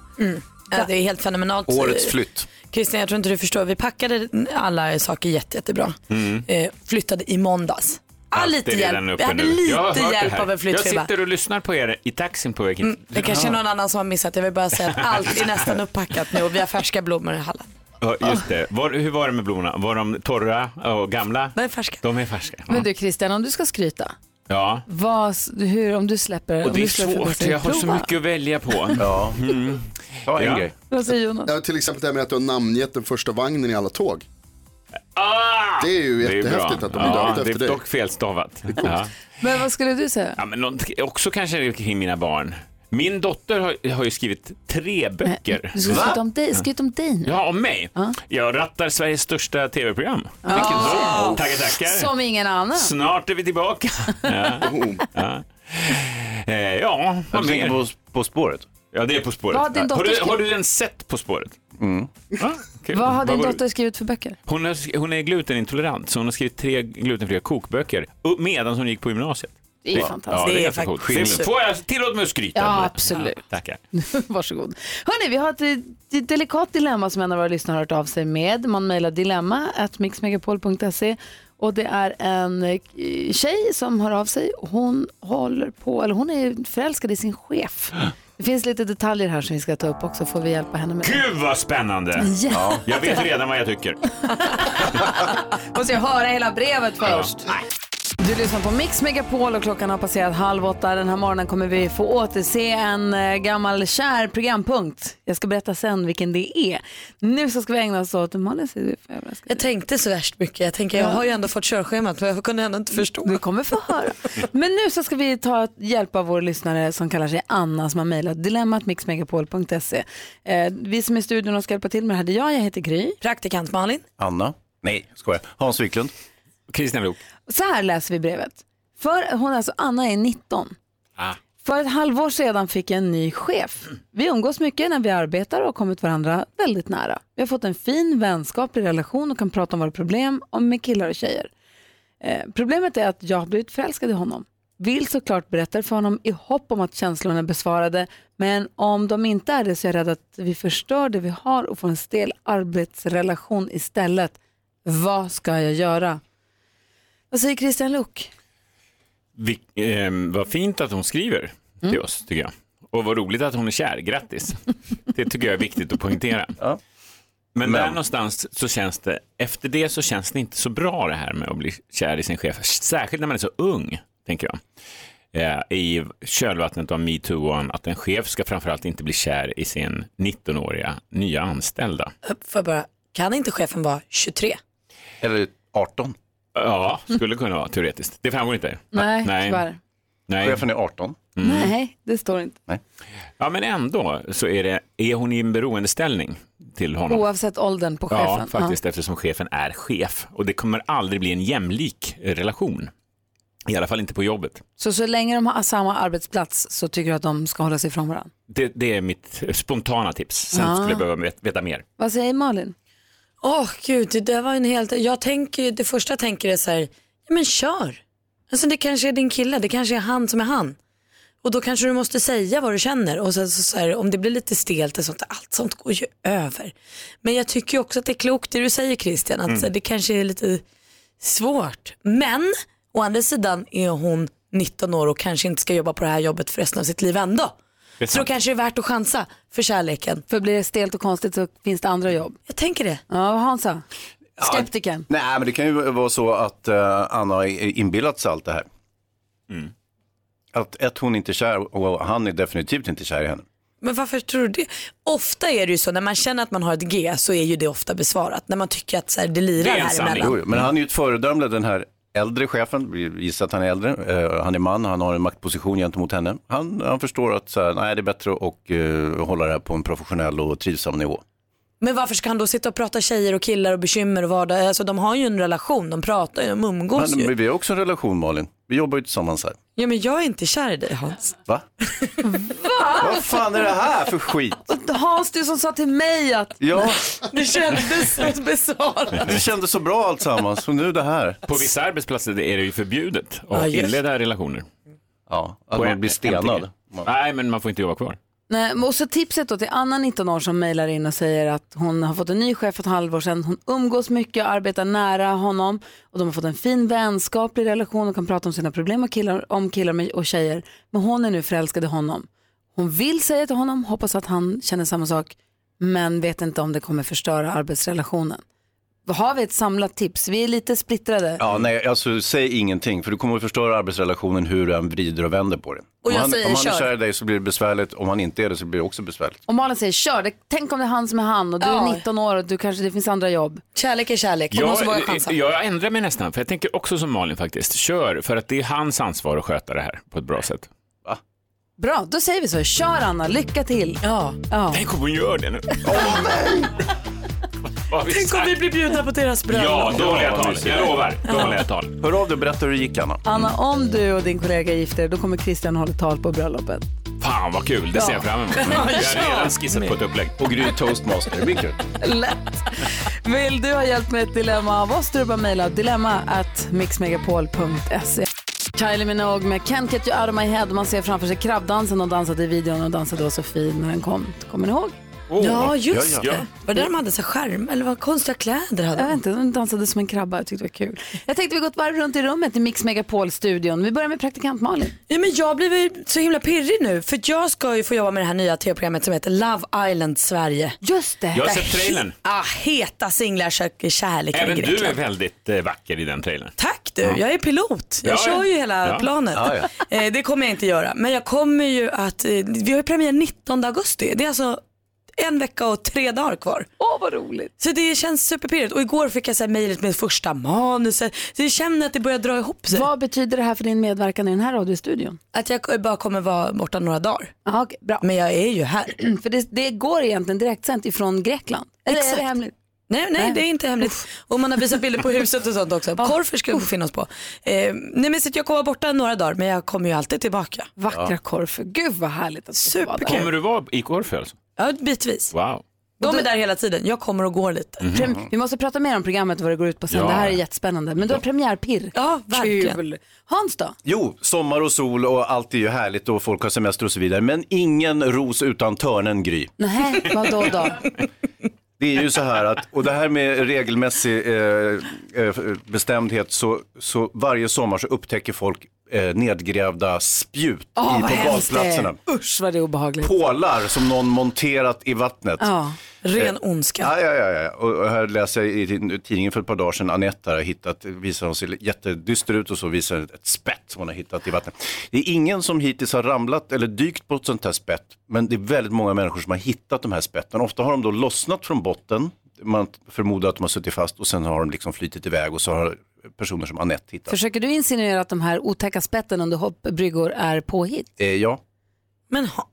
B: Ja, det är helt fenomenalt.
C: Årets flytt.
B: Christian, jag tror inte du förstår. Vi packade alla saker jätte, jättebra. Eh, flyttade i måndags. Ah, lite
M: Allt Mm. är redan
B: hjälp.
M: uppe
B: Jag hade
M: nu.
B: lite
M: Jag har hört det
B: hjälp
M: här.
B: av en
M: Jag
B: flyttfirma.
M: sitter och lyssnar på er i taxin på väg hit.
B: Mm, Det kanske är någon annan som har missat. Jag vill bara säga att allt är nästan upppackat nu och vi har färska blommor i hallen.
M: Ja, just det. Var, hur var det med blommorna? Var de torra och gamla? De är färska. De är färska.
A: Men du Christian, om du ska skryta,
M: Ja.
A: vad, hur, om du släpper...
M: Och
A: om
M: det är
A: du släpper
M: svårt,
A: förbättringen,
M: jag har så
A: prova.
M: mycket att välja på.
C: Ja.
M: Mm.
F: Ja, en
M: Ja.
F: grej.
A: Vad säger Jonas?
F: Ja, till exempel det här med att du har namngett den första vagnen i alla tåg. Det är ju
M: Det är ju
F: jättehäftigt
M: bra.
F: att de är
M: ja,
F: döpta efter
M: Det är
F: dig.
M: dock felstavat. Ja.
A: Men vad skulle du säga?
M: Ja, men något, också kanske kring mina barn. Min dotter har, har ju skrivit tre böcker.
A: Du ska skryta om dig, skryta om dig nu.
M: Ja, om mig? Jag rattar Sveriges största tv-program. Vilken dag! Tackar, tackar.
A: Som ingen annan.
M: Snart är vi tillbaka. ja. ja. Eh, ja,
C: Oh.
M: vad
C: Du tänker
M: mer?
C: på, på spåret?
M: Ja, det är På spåret.
A: Vad har din
M: har,
A: dotter
M: du,
A: skrivit?
M: har du den sett På spåret?
C: Mm.
M: Ja, kul.
A: Vad har din
M: var-
A: dotter skrivit för böcker?
M: Hon, har, sk- hon är glutenintolerant, så hon har skrivit tre glutenfria kokböcker upp- medan hon gick på gymnasiet.
A: Det är fantastiskt.
M: Ja, det
A: Det
M: är
A: är
M: ganska coolt.
A: faktiskt-
M: Det- Får jag tillåt mig att skryta?
A: Ja,
M: om det?
A: absolut.
M: Ja, tackar.
A: Varsågod. Hörni, vi har ett, eh, ett delikat dilemma som en av våra lyssnare har hört av sig med. Man mejlar dilemma at mixmegapol.se och det är en eh, tjej som hör av sig. Hon håller på, eller hon är förälskad i sin chef. Det finns lite detaljer här som vi ska ta upp också, får vi hjälpa henne med.
M: Gud vad spännande!
A: Ja. Ja.
M: Jag vet redan vad jag tycker.
A: Måste jag höra hela brevet först? Du lyssnar på Mix Megapol och klockan har passerat halv åtta. Den här morgonen kommer vi få återse en eh, gammal kär programpunkt. Jag ska berätta sen vilken det är. Nu så ska vi ägna oss åt, Malin säger du för överraskad.
B: Jag tänkte så värst mycket. Jag tänker jag har ju ändå fått körschemat men jag kunde ändå inte förstå.
A: Du kommer få höra. Men nu så ska vi ta hjälp av vår lyssnare som kallar sig Anna som har mejlat dilemmatmixmegapol.se. Eh, vi som är i studion och ska hjälpa till med det här, det är jag, jag heter Gry.
B: Praktikant Malin.
C: Anna? Nej, skojar. Hans Wiklund?
M: Christian Luuk.
A: Så här läser vi brevet. För, hon är alltså, Anna är 19.
M: Ah.
A: För ett halvår sedan fick jag en ny chef. Vi umgås mycket när vi arbetar och har kommit varandra väldigt nära. Vi har fått en fin vänskaplig relation och kan prata om våra problem om med killar och tjejer. Eh, problemet är att jag har blivit förälskad i honom. Vill såklart berätta det för honom i hopp om att känslorna är besvarade, men om de inte är det så är jag rädd att vi förstör det vi har och får en stel arbetsrelation istället. Vad ska jag göra? Vad säger Christian Luuk?
M: Vi, ehm, vad fint att hon skriver till
B: Mm.
M: oss, tycker jag. Och vad roligt att hon är kär, grattis. Det tycker jag är viktigt att poängtera. Men, där någonstans så känns det, efter det så känns det inte så bra det här med att bli kär i sin chef. Särskilt när man är så ung, tänker jag. Eh, I kölvattnet av metoo, att en chef ska framförallt inte bli kär i sin 19-åriga nya anställda.
B: För bara, kan inte chefen vara 23?
C: Eller 18?
M: Ja, skulle kunna vara teoretiskt. Det framgår inte.
B: Nej,
M: Nej. Mm.
B: tyvärr.
M: Nej. Mm.
C: Chefen är 18.
A: Äh, Nej, det står inte.
M: Ja, men ändå så är, det, är hon i en beroendeställning till honom.
A: Oavsett åldern på chefen.
M: Ja, faktiskt eftersom chefen är chef. Och det kommer aldrig bli en jämlik eh, relation. I alla fall inte på jobbet.
A: Så så länge de har samma arbetsplats så tycker du att de ska hålla sig ifrån varandra?
M: Det, det är mitt eh, spontana tips. Sen
A: Ah.
M: skulle jag behöva vet- veta mer.
A: Vad säger Malin?
B: Åh gud, det där var en helt... Jag tänker, ju- det första jag tänker är så här, ja men kör. Alltså det kanske är din kille, det kanske är han som är han. Och då kanske du måste säga vad du känner och sen så, så här, om det blir lite stelt och sånt, allt sånt går ju över. Men jag tycker ju också att det är klokt det du säger Christian, att
O: Mm.
B: så här, det kanske är lite svårt. Men å andra sidan är hon 19 år och kanske inte ska jobba på det här jobbet för resten av sitt liv ändå.
A: Det är
B: Så då
A: sant.
B: kanske det är värt att chansa för kärleken.
A: För blir det stelt och konstigt så finns det andra jobb.
B: Jag tänker det.
A: Ja, Hansa. Skeptikern.
C: Nej, men det kan ju vara så att eh, Anna har inbillat sig allt det här. Att ett, hon är inte kär och han är definitivt inte kär i henne.
B: Men varför tror du det? Ofta är det ju så när man känner att man har ett G så är ju det ofta besvarat. När man tycker att så här, det lirar här
C: Jo,
B: emellan.
C: jo, men han är ju ett föredöme, den här äldre chefen, vi gissar att han är äldre, Eh, han är man, han har en maktposition gentemot henne. Han, han förstår att så här, nej, det är bättre att eh, hålla det här på en professionell och trivsam nivå.
B: Men varför ska han då sitta och prata tjejer och killar och bekymmer och vardag? Alltså de har ju en relation, de pratar ju, de umgås
C: Men,
B: ju.
C: men vi har också en relation Malin, vi jobbar ju tillsammans här.
B: Ja men jag är inte kär i dig Hans.
C: Va? Vad fan är det här för skit?
A: Hans, du som sa till mig att...
C: Ja.
B: Det kändes besvarat.
C: Det kändes så bra alltsammans och nu det här.
M: På vissa arbetsplatser är det ju förbjudet att
C: Ja, just.
M: inleda relationer.
C: Ja, att
M: man blir stenad. Nej, men man får inte jobba kvar.
A: Nej, men och så tipset då till Anna, 19 år, som mejlar in och säger att hon har fått en ny chef för ett halvår sedan. Hon umgås mycket, arbetar nära honom och de har fått en fin vänskaplig relation och kan prata om sina problem och killar, om killar med- och tjejer. Men hon är nu förälskad i honom. Hon vill säga till honom, hoppas att han känner samma sak, men vet inte om det kommer förstöra arbetsrelationen. Har vi ett samlat tips? Vi är lite splittrade.
C: Ja, nej, alltså säg ingenting för du kommer att förstöra arbetsrelationen hur du än vrider och vänder på det.
A: Och jag
C: om han,
A: säger
C: om han
A: kör.
C: är kär i dig så blir det besvärligt, om han inte är det så blir det också besvärligt.
A: Och Malin säger, kör, det, tänk om det är han som är han och du
B: Ja.
A: är 19 år och du kanske, det finns andra jobb.
B: Kärlek är kärlek,
M: jag, jag ändrar mig nästan, för jag tänker också som Malin faktiskt. Kör, för att det är hans ansvar att sköta det här på ett bra sätt. Va?
A: Bra, då säger vi så. Kör Anna, lycka till.
B: Ja.
A: ja.
M: Tänk om hon gör det nu. Vad har vi
B: Tänk om
M: sagt?
B: vi blir bjudna på deras bröllop.
M: Ja, dåliga tal.
C: mysigt.
M: Jag lovar. Dåliga tal.
C: Hör av dig och berätta hur det gick Anna.
A: Anna, om du och din kollega gifter er, då kommer Christian hålla tal på bröllopet.
M: Fan vad kul, det ser jag fram emot.
A: Ja.
M: Jag har
A: Ja.
M: redan skissat på ett upplägg.
C: Och Gry toastmaster, det blir kul.
A: Lätt. Vill du ha hjälp med ett dilemma av oss, då är det bara att mejla dilemma at mixmegapol.se. Kylie Minogue med Can't Get You Out of My Head. Man ser framför sig krabbdansen och dansade i videon och dansade då så fin när den kom. Kommer ni ihåg?
B: ja just det. Var det där de hade så här skärm eller vad konstiga kläder hade
A: Jag
B: de?
A: vet inte, de dansade som en krabba. Jag tyckte det var kul. Jag tänkte vi går ett varv runt i rummet i Mix Megapol-studion. Vi börjar med praktikant Malin.
B: Ja, men jag blir väl så himla pirrig nu för att jag ska ju få jobba med det här nya tv-programmet som heter Love Island Sverige.
A: Just det.
M: Jag har sett trailern.
B: Ah, heta singlar söker kärlek i
M: Även du är
B: Grekland.
M: väldigt eh, vacker i den trailern.
B: Tack du, jag är pilot. Jag
M: Ja,
B: kör ju
M: ja.
B: hela
M: Ja.
B: planet.
M: Ja,
B: Eh, Det kommer jag inte göra. Men jag kommer ju att, eh, vi har ju premiär 19 augusti. Det är alltså en vecka och tre dagar kvar.
A: Åh vad roligt.
B: Så det känns superpirrigt. Och igår fick jag så här mejlet med första manuset. Så jag känner att det börjar dra ihop sig.
A: Vad betyder det här för din medverkan i den här radiostudion?
B: Att jag bara kommer vara borta några dagar.
A: Aha, bra.
B: Men jag är ju här.
A: för det, det går egentligen direktsänt ifrån Grekland. Eller är det hemligt?
B: Nej, nej,
A: Nej.
B: det är inte hemligt. Och man har visat bilder på huset och sånt också. Korfer ska ju få finnas på. Eh, nej, men så att jag kommer vara borta några dagar, men jag kommer ju alltid tillbaka.
A: Vackra
M: Ja.
A: Korfu. Gud vad härligt att få vara där.
M: Kommer du vara i Korfu alltså?
B: Ja, bitvis.
M: Wow.
B: De är där hela tiden. Jag kommer och går lite.
M: Mhm.
A: Prem- Vi måste prata mer om programmet och vad det går ut på sen.
C: Ja.
A: Det här är jättespännande. Men du har premiärpirr.
B: Ja,
C: verkligen.
A: Kul. Hans då?
C: Jo, sommar och sol och allt är ju härligt och folk har semester och så vidare. Men ingen ros utan törnen Gry.
A: Nej, vadå då?
C: Det är ju så här att, och det här med regelmässig eh, eh, bestämdhet, så, så varje sommar så upptäcker folk eh, nedgrävda spjut
A: Åh,
C: i,
A: vad
C: på
A: hemskt det är.
C: badplatserna.
A: Usch vad det är obehagligt.
C: Pålar som någon monterat i vattnet.
A: Ja,
B: ren ondska.
C: Eh, Ja, ja, ja, ja. Och och här läser jag i tid- tidningen för ett par dagar sedan, Anette har hittat, visar hon ser jättedyster ut och så visar ett spett som hon har hittat i vattnet. Det är ingen som hittills har ramlat eller dykt på ett sånt här spett, men det är väldigt många människor som har hittat de här spetten. Ofta har de då lossnat från botten, man förmodar att de har suttit fast och sen har de liksom flytit iväg och så har personer som Anette hittar.
A: Försöker du insinuera att de här otäcka spetten under hoppbryggor är påhitt?
C: Eh, ja.
A: Men ha-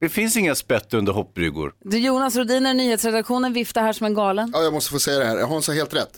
C: Det finns inga spett under hoppbryggor.
A: du, Jonas Rodiner, nyhetsredaktionen, viftar här som en galen.
F: Ja, jag måste få säga det här. Hans har helt rätt.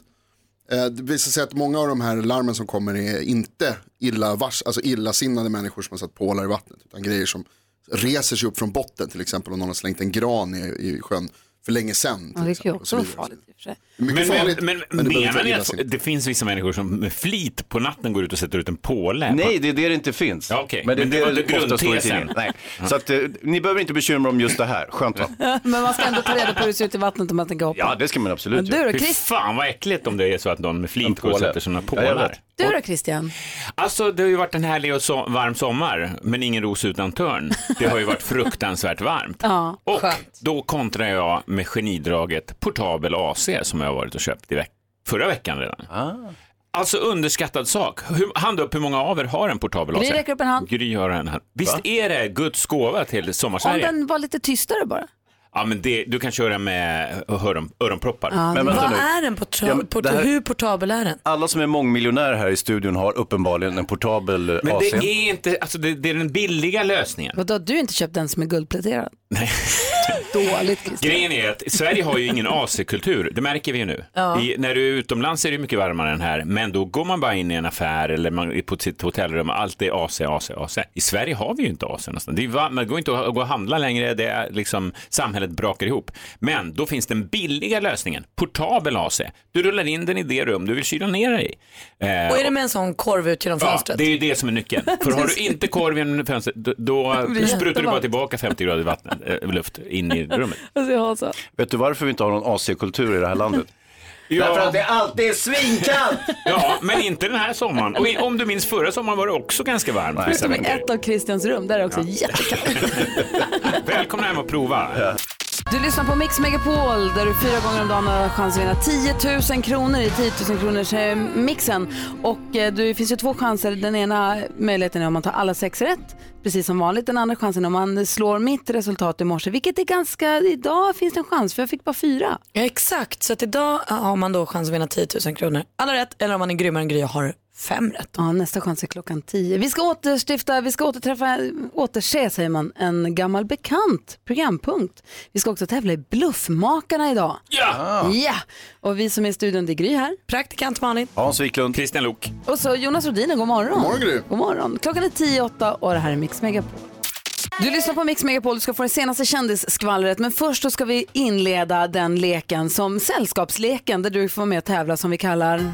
F: Eh, Det visar sig att många av de här larmen som kommer är inte illa vars, alltså illasinnade människor som har satt pålar i vattnet. Utan grejer som reser sig upp från botten. Till exempel om någon har slängt en gran i, i sjön för länge sedan.
A: Ja, det kan ju också vara farligt i och för sig.
F: Mycket
M: Men,
F: farligt,
M: men, men,
F: men det behöver inte
M: menar ni
F: vara
M: att det finns vissa människor som med flit på natten går ut och sätter ut en påle?
C: Nej, det är det det inte finns.
M: Ja, okej.
C: Men det,
M: Men det
C: är
M: var
C: det ofta står i
M: grundtesen.
C: tidningen. Nej.
M: Ja.
C: Så att, eh, ni behöver inte bekymra er om just det här. Skönt va?
A: Men man ska ändå ta reda på hur det ser ut i vattnet om man tänker hoppa.
C: Ja, det ska man absolut
A: Men du
C: göra.
A: då, Chris?
M: Fy fan vad äckligt om det är så att någon med flit går och
C: påle.
M: sätter sina
C: Ja, jag vet.
M: pålar.
A: Du då Christian?
M: Alltså det har ju varit en härlig och so varm sommar, men ingen ros utan törn. Det har ju varit fruktansvärt varmt.
A: Ja,
P: Oh.
M: Och
A: skönt.
M: då kontrar jag med genidraget portabel AC som jag har varit och köpt i veck förra veckan redan.
C: Ah.
M: Alltså underskattad sak. Hur, hand upp hur många av er har en portabel AC?
A: Gry räcker upp en hand.
M: Gry har en hand. Visst är det Guds gåva till
A: Om
M: sommarsverige?
A: den var lite tystare bara.
M: Ja, men det, du kan köra med öron, öronproppar.
A: Ja,
C: Men vänta
B: Vad
C: nu.
B: är den porta-
C: Ja, men
B: porta-
C: det här-
B: Hur portabel är den?
C: Alla som är mångmiljonärer här i studion har uppenbarligen en portabel eh,
M: Men
C: AC.
M: det är inte, alltså det, det är den billiga lösningen.
A: Vadå, du har inte köpt den som är guldpläterad? Nej. Dåligt Christian.
M: Grejen är att Sverige har ju ingen AC-kultur, det märker vi ju nu.
A: Ja.
M: I, när du är utomlands är det ju mycket varmare än här, men då går man bara in i en affär eller man är på sitt hotellrum och allt är AC, AC, AC. I Sverige har vi ju inte AC nästan. Det är varmt, man går inte att gå och handla längre, det är liksom, samhället brakar ihop. Men då finns den billiga lösningen, portabel AC. Du rullar in den i det rum du vill kyla ner dig i. Eh,
B: Och är det med en sån korv ut genom
M: Ja,
B: fönstret?
M: det är ju det som är nyckeln. För har du inte korv genom fönstret, då, då
B: blir
M: sprutar du bara
B: jättevarmt.
M: tillbaka 50 grader vatten, eh, luft in i rummet.
A: Alltså, jag har så.
C: Vet du varför vi inte har någon AC-kultur i det här landet?
M: Ja.
C: Därför att det alltid är svinkallt!
M: Ja, men inte den här sommaren. Och i- om du minns förra sommaren var det också ganska varmt.
A: Förutom i ett av Christians rum, där är det också jättekallt.
M: Välkomna hem och prova.
A: Du lyssnar på Mix Megapol där du fyra gånger om dagen har chans att vinna 10 000 kronor i 10 000 kronors eh, mixen. Och eh, det finns ju två chanser. Den ena möjligheten är om man tar alla sex rätt, precis som vanligt. Den andra chansen är om man slår mitt resultat i morse, vilket är ganska... Idag finns det en chans, för jag fick bara fyra.
B: Ja, exakt, så att idag har man då chans att vinna 10 000 kronor. Alla rätt, eller om man är grymmare än Gry och har fem rätt.
A: Ja, nästa chans är klockan tio. Vi ska återstifta, vi ska återträffa, återse säger man, en gammal bekant programpunkt. Vi ska också tävla i Bluffmakarna idag.
M: Ja!
A: Ja! Och vi som är i studion, det är Gry här.
B: Praktikant Malin.
C: Hans Wiklund.
M: Kristian Lok.
A: Och så Jonas Rhodiner, god morgon.
C: God morgon, Gry.
A: God morgon. Klockan är tio i åtta och det här är Mix Megapol. Du lyssnar på Mix Megapol, du ska få det senaste kändisskvallret. Men först då ska vi inleda den leken som sällskapsleken där du får vara med och tävla som vi kallar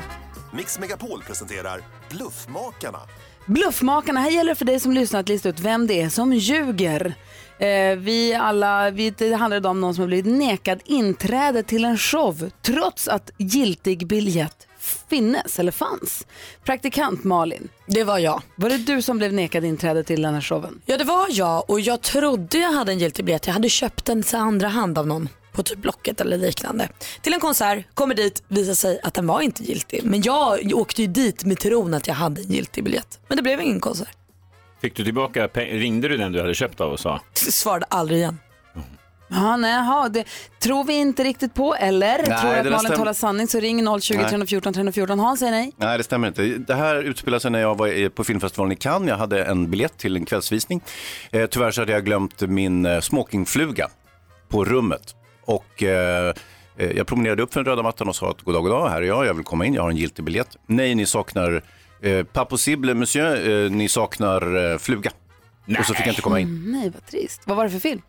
J: Mix Megapol presenterar Bluffmakarna.
A: Bluffmakarna. Här gäller det för dig som lyssnar att lista ut vem det är som ljuger. Eh, vi alla, vi, det handlar idag om någon som har blivit nekad inträde till en show trots att giltig biljett finnes eller fanns. Praktikant Malin.
B: Det var jag.
A: Var det du som blev nekad inträde till den här showen?
B: Ja det var jag och jag trodde jag hade en giltig biljett. Jag hade köpt den så andra hand av någon på typ Blocket eller liknande. Till en konsert, kommer dit, visar sig att den var inte giltig. Men jag åkte ju dit med tron att jag hade en giltig biljett. Men det blev ingen konsert.
M: Fick du tillbaka, pe- ringde du den du hade köpt av och sa?
B: Svarade aldrig igen.
A: Ja, nej, aha, det tror vi inte riktigt på. Eller
C: Nej,
A: tror du att
C: det där
A: Malin
C: stäm-
A: talar sanning så ring 020
C: Nej.
A: 314 314. Hans säger nej.
C: Nej, det stämmer inte. Det här utspelade sig när jag var i- på filmfestivalen i Cannes. Jag hade en biljett till en kvällsvisning. Eh, tyvärr så hade jag glömt min eh, smokingfluga på rummet. Och eh, eh, jag promenerade upp för den röda mattan och sa att god dag, god dag, här är jag, jag vill komma in, jag har en giltig biljett. Nej, ni saknar, eh, pas possible monsieur, eh, ni saknar eh, fluga. Och så fick jag inte komma in.
A: Mm, nej, vad trist. Vad var det för film?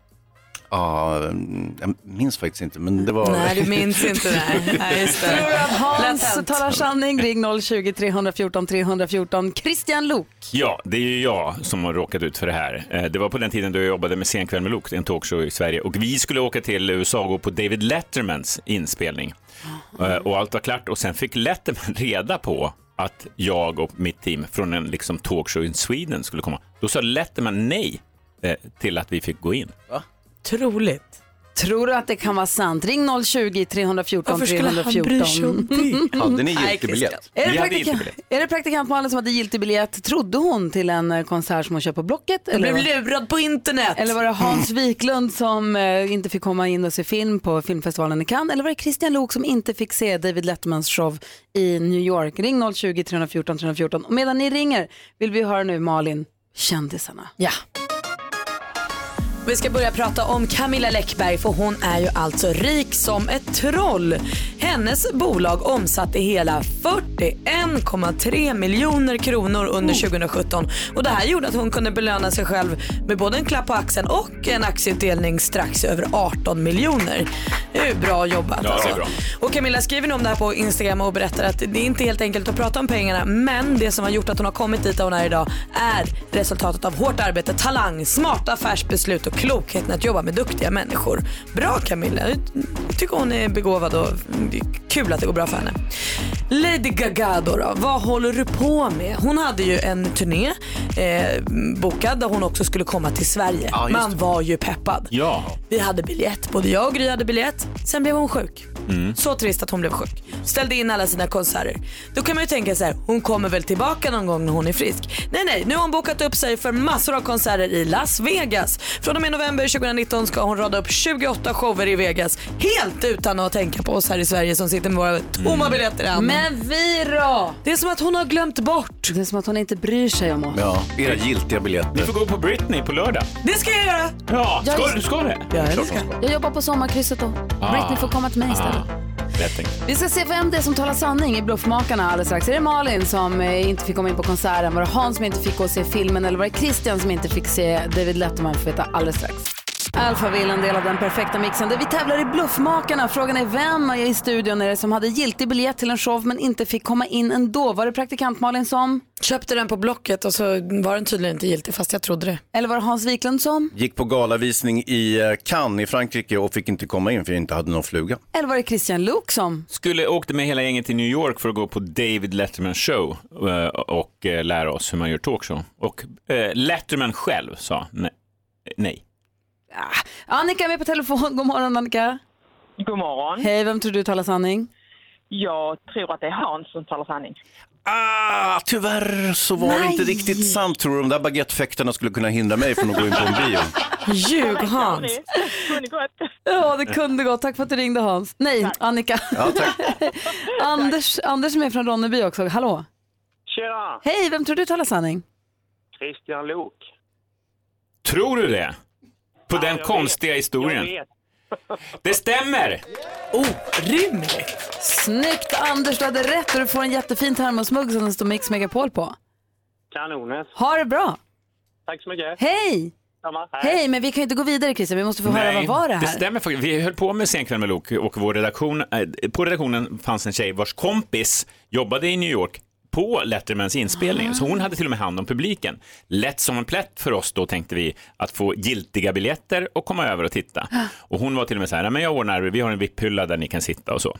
C: Ja, mm, jag minns faktiskt inte, men det var...
B: Nej, du minns inte det här. Nej, just det.
A: Tror du att
B: Lätt
A: Hans
B: hänt.
A: talar sanning? Ring 020 314 314. Christian Lok.
M: Ja, det är ju jag som har råkat ut för det här. Eh, Det var på den tiden då jag jobbade med Senkväll med Lukt, en talkshow i Sverige. Och vi skulle åka till USA och gå på David Lettermans inspelning. Eh, Och allt var klart och sen fick Letterman reda på att jag och mitt team från en liksom talkshow in Sweden skulle komma. Då sa Letterman nej eh, till att vi fick gå in.
B: Troligt.
A: Tror du att det kan vara sant? Ring 020-314 314.
B: Varför skulle han bry sig om det?
C: Hade ni giltig biljett?
A: Mm. Är det,
C: Ni hade
A: praktika-
C: giltig biljett.
A: är det praktikantmannen som hade giltig biljett? Trodde hon till en eh, konsert som hon köpte på Blocket?
B: Jag blev
A: vad-
B: lurad på internet.
A: Eller var det Hans Wiklund som eh, inte fick komma in och se film på filmfestivalen i Cannes? Eller var det Christian Lok som inte fick se David Lettermans show i New York? Ring 020-314 314. Och medan ni ringer vill vi höra nu Malin, kändisarna.
B: Ja. Vi ska börja prata om Camilla Läckberg för hon är ju alltså rik som ett troll. Hennes bolag omsatte hela 41,3 miljoner kronor under 2017 och det här gjorde att hon kunde belöna sig själv med både en klapp på axeln och en aktieutdelning strax över 18 miljoner. Det är ju bra jobbat
M: Ja, det är
B: alltså.
M: bra.
B: Och Camilla skriver nu om det här på Instagram och berättar att det är inte helt enkelt att prata om pengarna men det som har gjort att hon har kommit dit där hon är idag är resultatet av hårt arbete, talang, smarta affärsbeslut och klokheten att jobba med duktiga människor. Bra Camilla, jag tycker hon är begåvad och det är kul att det går bra för henne. Lady Gaga då, då vad håller du på med? Hon hade ju en turné eh, bokad där hon också skulle komma till Sverige.
M: Ja, just
B: Man
M: det.
B: var ju peppad.
M: Ja.
B: Vi hade biljett, både jag och Gry hade biljett. Sen blev hon sjuk.
M: Mm.
B: Så trist att hon blev sjuk. Ställde in alla sina konserter. Då kan man ju tänka så här, hon kommer väl tillbaka någon gång när hon är frisk. Nej, nej, nu har hon bokat upp sig för massor av konserter i Las Vegas. Från och med november 2019 ska hon rada upp 28 shower i Vegas. Helt utan att tänka på oss här i Sverige som sitter med våra tomma
A: Mm.
B: biljetter i handen.
A: Men vi då?
B: Det är som att hon har glömt bort.
A: Det är som att hon inte bryr sig om oss.
C: Ja, era giltiga biljetter.
M: Ni Mm. får gå på Britney på lördag.
B: Det ska jag göra.
M: Ja,
A: Jag-
M: ska du ska det?
B: Ja,
M: det ska
A: Jag jobbar på sommarkrysset då.
M: Ah.
A: Britney får komma till mig istället.
M: Rätt tänkt.
A: Vi ska se vem det är som talar sanning i Bluffmakarna alldeles strax. Är det Malin som eh, inte fick komma in på konserten? Var det Hans som inte fick gå och se filmen? Eller var det Christian som inte fick se David Letterman? Får veta alldeles strax. Alphaville, en del av den perfekta mixen där vi tävlar i Bluffmakarna. Frågan är vem i studion är det som hade giltig biljett till en show men inte fick komma in ändå? Var det praktikant Malin som?
B: Köpte den på Blocket och så var den tydligen inte giltig fast jag trodde det.
A: Eller var det Hans Wiklund som?
C: Gick på galavisning i eh, Cannes i Frankrike och fick inte komma in för jag inte hade någon fluga.
A: Eller var det Christian Luuk som?
M: Skulle åkte med hela gänget till New York för att gå på David Letterman show eh, och eh, lära oss hur man gör talkshow. Och eh, Letterman själv sa ne- nej.
A: Annika är med på telefon. God morgon Annika.
O: God morgon.
A: Hej, vem tror du talar sanning?
O: Jag tror att det är Hans som talar sanning.
C: Ah, tyvärr så var det inte riktigt sant tror du. De där baguettefäktarna skulle kunna hindra mig från att gå in på en bio.
A: Ljug
O: Hans.
A: Ja, det kunde gått. Tack för att du ringde Hans. Nej, Annika.
C: Ja, tack.
A: Anders, Anders som är från Ronneby också. Hallå.
Q: Tjena!
A: Hej, vem tror du talar sanning?
Q: Christian Lok.
M: Tror du det? På den
Q: jag
M: konstiga historien.
Q: Jag vet.
M: Det stämmer!
B: Orimligt!
A: Snyggt Anders, du hade rätt och du får en jättefin termosmugg som det står Mix Megapol på.
Q: Kanonet.
A: Ha det bra.
Q: Tack så mycket.
A: Hej!
Q: Samma.
A: Hej, men vi kan ju inte gå vidare Christian, vi måste få höra vad var det här?
M: stämmer faktiskt. Vi höll på med Senkväll med Lok och vår redaktion, eh, på redaktionen fanns en tjej vars kompis jobbade i New York på Lettermans inspelning, så
A: Ah.
M: hon hade till och med hand om publiken. Lätt som en plätt för oss då tänkte vi att få giltiga biljetter och komma över och titta.
A: Ah.
M: Och hon var till och med så här, "Nej, men jag ordnar, vi har en VIP-hylla där ni kan sitta och så.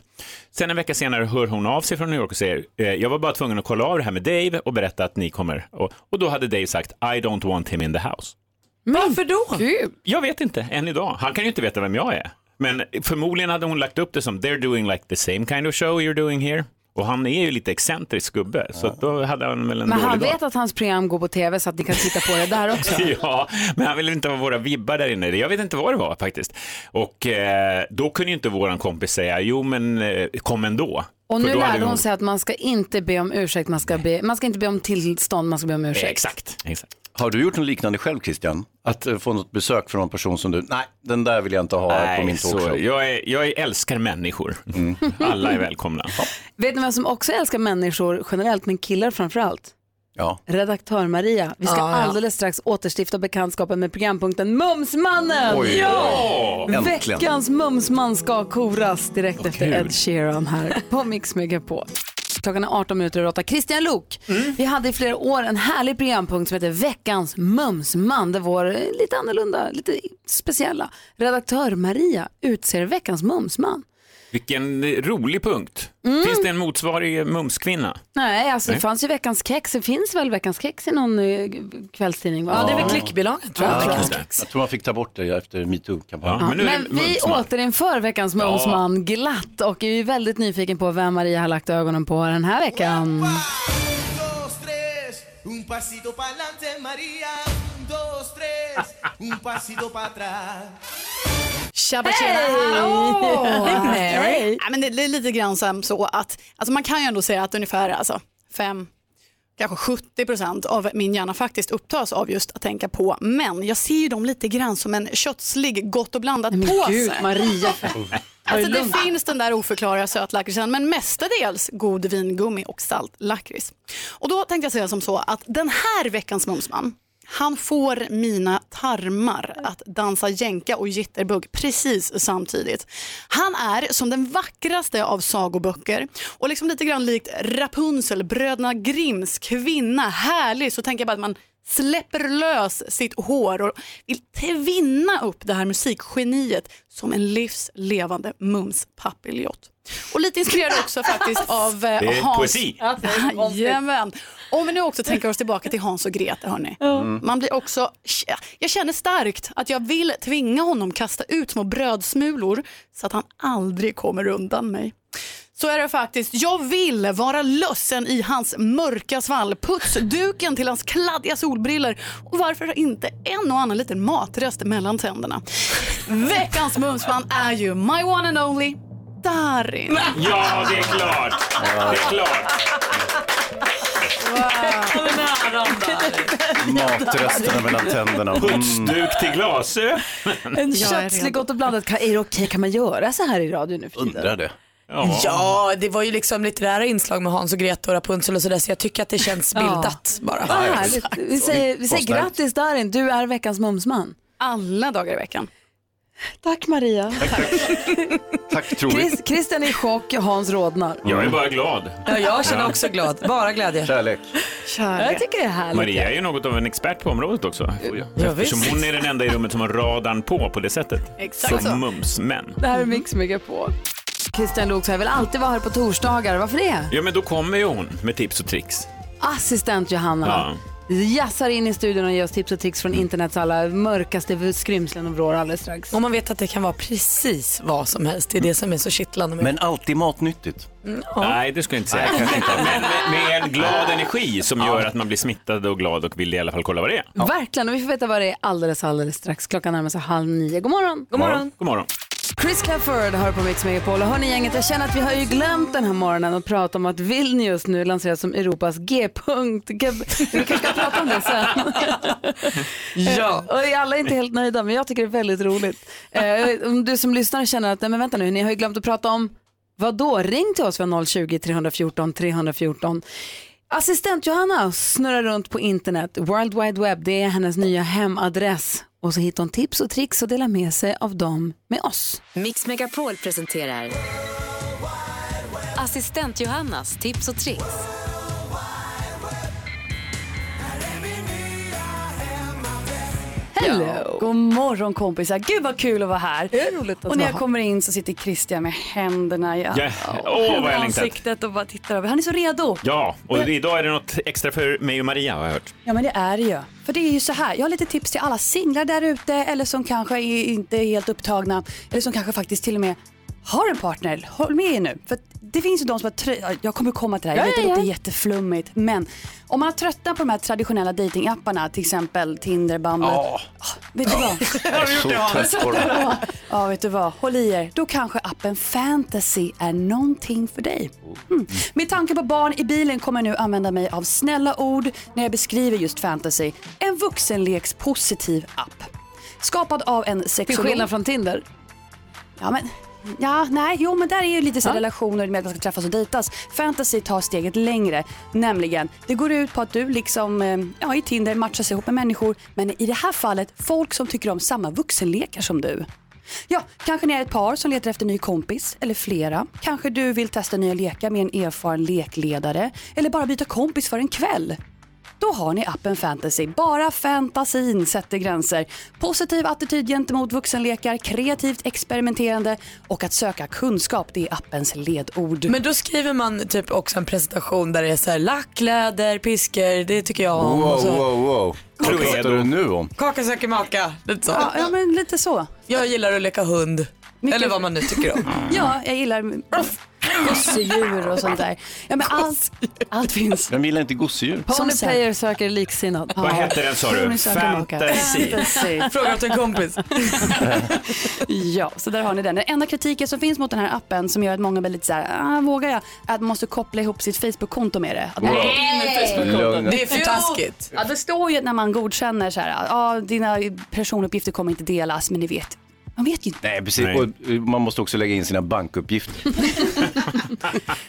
M: Sen en vecka senare hör hon av sig från New York och säger, "Eh, jag var bara tvungen att kolla av det här med Dave och berätta att ni kommer. Och, och då hade Dave sagt, I don't want him in the house.
B: Varför då?
M: Jag vet inte, än idag. Han kan ju inte veta vem jag är. Men förmodligen hade hon lagt upp det som “They're doing like the same kind of show you're doing here”. Och han är ju lite excentrisk gubbe, så att då hade han väl en
A: Men
M: dålig
A: han
M: dag.
A: vet att hans program går på tv så att ni kan titta på det där också.
M: Ja, men han ville inte ha våra vibbar där inne. Jag vet inte vad det var faktiskt. Och eh, då kunde ju inte våran kompis säga, jo men eh, kom ändå.
A: Och
M: För
A: nu
M: då hade
A: lärde hon sig att man ska inte be om ursäkt, man ska, be, man ska inte be om tillstånd, man ska be om ursäkt.
M: Exakt. Exakt.
C: Har du gjort något liknande själv Christian? Att eh, få något besök från någon person som du, nej, den där vill jag inte ha på min
M: Nej, så,
C: talkshow.
M: jag, är, jag älskar människor. Alla är välkomna.
A: Vet ni vem som också älskar människor generellt, men killar framförallt?
C: Ja.
A: Redaktör Maria. Vi ska
B: Ja, ja.
A: alldeles strax återstifta bekantskapen med programpunkten Mumsmannen!
B: Oj, oj, oj. Äntligen.
A: Veckans Mumsman ska koras direkt efter
B: kul.
A: Ed Sheeran här på Mix Megapol. Klockan är 18 minuter över 8. Christian Lok.
B: Mm.
A: Vi hade i flera år en härlig programpunkt som heter Veckans Mumsman där vår eh, lite annorlunda, lite speciella redaktör Maria utser veckans mumsman.
M: Vilken rolig punkt.
A: Mm.
M: Finns det en motsvarig Mumskvinna?
R: Nej, alltså
M: Nej.
R: det fanns ju Veckans kex. Det finns väl Veckans kex i någon eh, kvällstidning? Va?
B: klickbilagan
R: tror jag.
C: Ja,
R: Tror jag.
C: just det. jag tror man fick ta bort det efter metoo-kampanjen.
R: Ja, men vi återinför veckans Mumsman glatt och är ju väldigt nyfiken på vem Maria har lagt ögonen på den här veckan.
E: Un pasito para adelante, María. Un, dos, tres. Un pasito para atrás.
P: Tjabba
E: Hej!
P: tjena! Hallå!
E: Hej, Mary.
P: Nej, men det, det är lite grann som så att alltså man kan ju ändå säga att ungefär alltså, fem, kanske 70 procent av min hjärna faktiskt upptas av just att tänka på män. Jag ser ju dem lite grann som en kötslig gott och blandat påse.
Q: Oh.
P: Alltså det finns den där oförklarliga sötlakritsen men mestadels god vingummi och saltlakrits. Och då tänkte jag säga som så att den här veckans Mumsman, han får mina tarmar att dansa jänka och jitterbug precis samtidigt. Han är som den vackraste av sagoböcker och liksom lite grann likt Rapunzel, bröderna Grimms kvinna, härlig, så tänker jag bara att man släpper lös sitt hår och vill tvinna upp det här musikgeniet som en livs levande mumspapiljott. Och lite inspirerad också faktiskt av eh,
E: Det är
P: Hans...
E: poesi.
P: Ja, Jajamän. Om vi nu också tänker oss tillbaka till Hans och Greta, hörni.
E: Mm.
P: Man blir också... Jag känner starkt att jag vill tvinga honom kasta ut små brödsmulor så att han aldrig kommer undan mig. Så är det faktiskt. Jag vill vara lössen i hans mörka svall, putsduken till hans kladdiga solbriller och varför inte en och annan liten matrest mellan tänderna. Veckans Mumsman är ju my one and only Darin.
M: Ja, det är klart. Det är klart.
C: Matresterna mellan tänderna. Mm.
M: Putsduk till glasögon.
A: En kötslig gott och blandat, kan- är det okej, kan man göra så här i radio nu för tiden?
C: det.
B: Ja. det var ju liksom litterära inslag med Hans och Greta och Rapunzel och sådär så jag tycker att det känns bildat bara.
A: Vad härligt. Vi säger, vi säger grattis Darin, du är veckans Mumsman.
P: Alla dagar i veckan.
A: Tack Maria.
C: Tack tror vi.
A: Chris, Christian är i chock, Hans rodnar.
M: Jag är bara glad.
A: Ja, jag känner också
B: glad. Bara glädje.
C: Kärlek.
A: Jag tycker det är härligt.
M: Maria är ju något av en expert på området också.
A: Ja,
M: Eftersom
A: visst.
M: hon är den enda i rummet som har radarn på på det sättet.
A: Exakt så.
M: Som mumsmän.
A: Det här är Mix Megapol. Christian Luuk jag vill alltid vara här på torsdagar. Varför det?
M: Ja, men då kommer ju hon med tips och tricks.
A: Assistent Johanna.
M: Ja.
A: jassar in i studion och ger oss tips och tricks från internets alla mörkaste skrymslen och vrår alldeles strax.
B: Och man vet att det kan vara precis vad som helst. Det är det som är så kittlande med
C: Men alltid matnyttigt.
M: Nej, det skulle jag inte säga.
C: Nej, kanske inte.
M: Men med, med en glad energi som gör att man blir smittad och glad och vill i alla fall kolla vad det är.
A: Verkligen, och vi får veta vad det är alldeles, alldeles strax. Klockan närmar sig halv nio. God morgon!
M: God morgon. God morgon.
A: Chris Clafford hör på Mix Megapol. Och hörni gänget, jag känner att vi har ju glömt den här morgonen att prata om att Vilnius nu lanseras som Europas G-punkt. G- Vi kanske ska prata om det sen.
B: Ja.
A: Eh, Och alla är inte helt nöjda, men jag tycker det är väldigt roligt. Eh, Om du som lyssnar känner att, nej men vänta nu, ni har ju glömt att prata om, vad då? Ring till oss, vi har 020 314 314. Assistent Johanna snurrar runt på internet, World Wide Web, det är hennes nya hemadress. Och så hittar hon tips och tricks och delar med sig av dem med oss.
I: Mix Megapol presenterar Assistent Johannas tips och tricks.
S: Hello. God morgon kompisar. Gud vad kul att vara här. och när jag
A: vara.
S: kommer in så sitter Christian med händerna i
M: Ja. Åh, vad jag
S: över
M: längtat.
S: ansiktet och bara tittar över. Han är så redo.
M: Ja, och idag är det något extra för mig och Maria har jag hört.
S: Ja men det är det ju. För det är ju så här, jag har lite tips till alla singlar där ute eller som kanske är- inte är helt upptagna eller som kanske faktiskt till och med har en partner. Håll med er nu. För att det finns ju de som har, trö- jag kommer komma till det här, jag
A: Ja,
S: vet det
A: ja, ja.
S: låter jätteflummigt. Men om man har tröttnat på de här traditionella datingapparna till exempel Tinder, Bumble.
E: Ja.
S: Ah, Vet du vad?
E: Jag är så trött på dem.
S: Ja, vet du vad? Håll i er. Då kanske appen Fantasy är någonting för dig. Mm. Med tanke på barn i bilen kommer jag nu använda mig av snälla ord när jag beskriver just fantasy. En vuxenlekspositiv app. Skapad av en sexolog.
A: skillnad från Tinder?
S: Ja, men... Ja, nej, jo men där är ju lite så här relationer med att man ska träffas och dejtas. Fantasy tar steget längre, nämligen det går ut på att du liksom eh, ja, i Tinder matchas ihop med människor, men i det här fallet folk som tycker om samma vuxenlekar som du. Ja, kanske ni är ett par som letar efter en ny kompis eller flera. Kanske du vill testa nya lekar med en erfaren lekledare eller bara byta kompis för en kväll. Då har ni appen Fantasy. Bara fantasin sätter gränser. Positiv attityd gentemot vuxenlekar, kreativt experimenterande och att söka kunskap, det är appens ledord.
B: Men då skriver man typ också en presentation där det är så här lackkläder, piskor, det tycker jag om. och
C: Wow,
B: så.
C: wow, wow. Vad pratar du nu om?
B: Kaka söker maka, lite så.
S: Ja, ja, men lite så.
B: Jag gillar att leka hund. Eller vad man nu tycker om.
S: Ja, jag gillar gosedjur och sånt där. Ja, men allt, allt finns.
C: Vem gillar inte gosedjur?
A: Pony player söker liksinnad.
C: Vad hette den, sa du?
S: Pony söker maka.
C: Fantasy.
B: Fråga åt en kompis.
S: ja, så där har ni den. Den enda kritiken som finns mot den här appen som gör att många blir lite så här, ah, vågar jag? Är att man måste koppla ihop sitt Facebook-konto med det. Att man-
B: Wow. Lugna. Det är för
S: Jo.
B: taskigt.
S: Ja, det står ju när man godkänner så här, ah, dina personuppgifter kommer inte delas, men ni vet. Man vet ju inte.
C: Nej, precis. Och eh, man måste också lägga in sina bankuppgifter.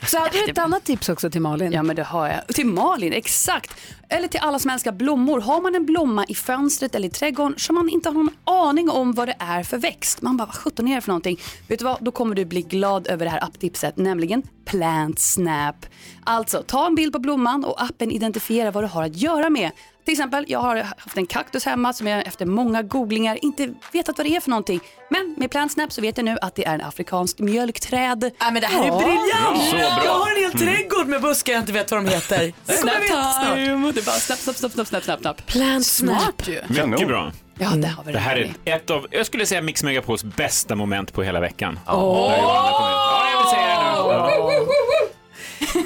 S: Så hade du ett annat tips också till Malin? Ja men det har jag. Till Malin, exakt. Eller till alla som älskar blommor. Har man en blomma i fönstret eller i trädgården som man inte har någon aning om vad det är för växt. Man bara, vad sjutton är det för någonting? Vet du vad, då kommer du bli glad över det här apptipset, nämligen Plant Snap. Alltså, ta en bild på blomman och appen identifierar vad du har att göra med. Till exempel, jag har haft en kaktus hemma som jag efter många googlingar inte vetat vad det är för någonting. Men med Plant Snap så vet jag nu att det är en afrikansk mjölkträd.
B: Ja, men det här är briljant! Jag har en hel trädgård med buskar jag inte vet vad de heter.
S: Snap time! Det är bara snapp, snapp, snapp, snapp, snapp, snapp, snapp.
B: Plant
S: Smart ju.
M: Mycket bra.
S: Ja, det har vi
M: Det här är
S: redan.
M: ett av, jag skulle säga Mix Megapols bästa moment på hela veckan.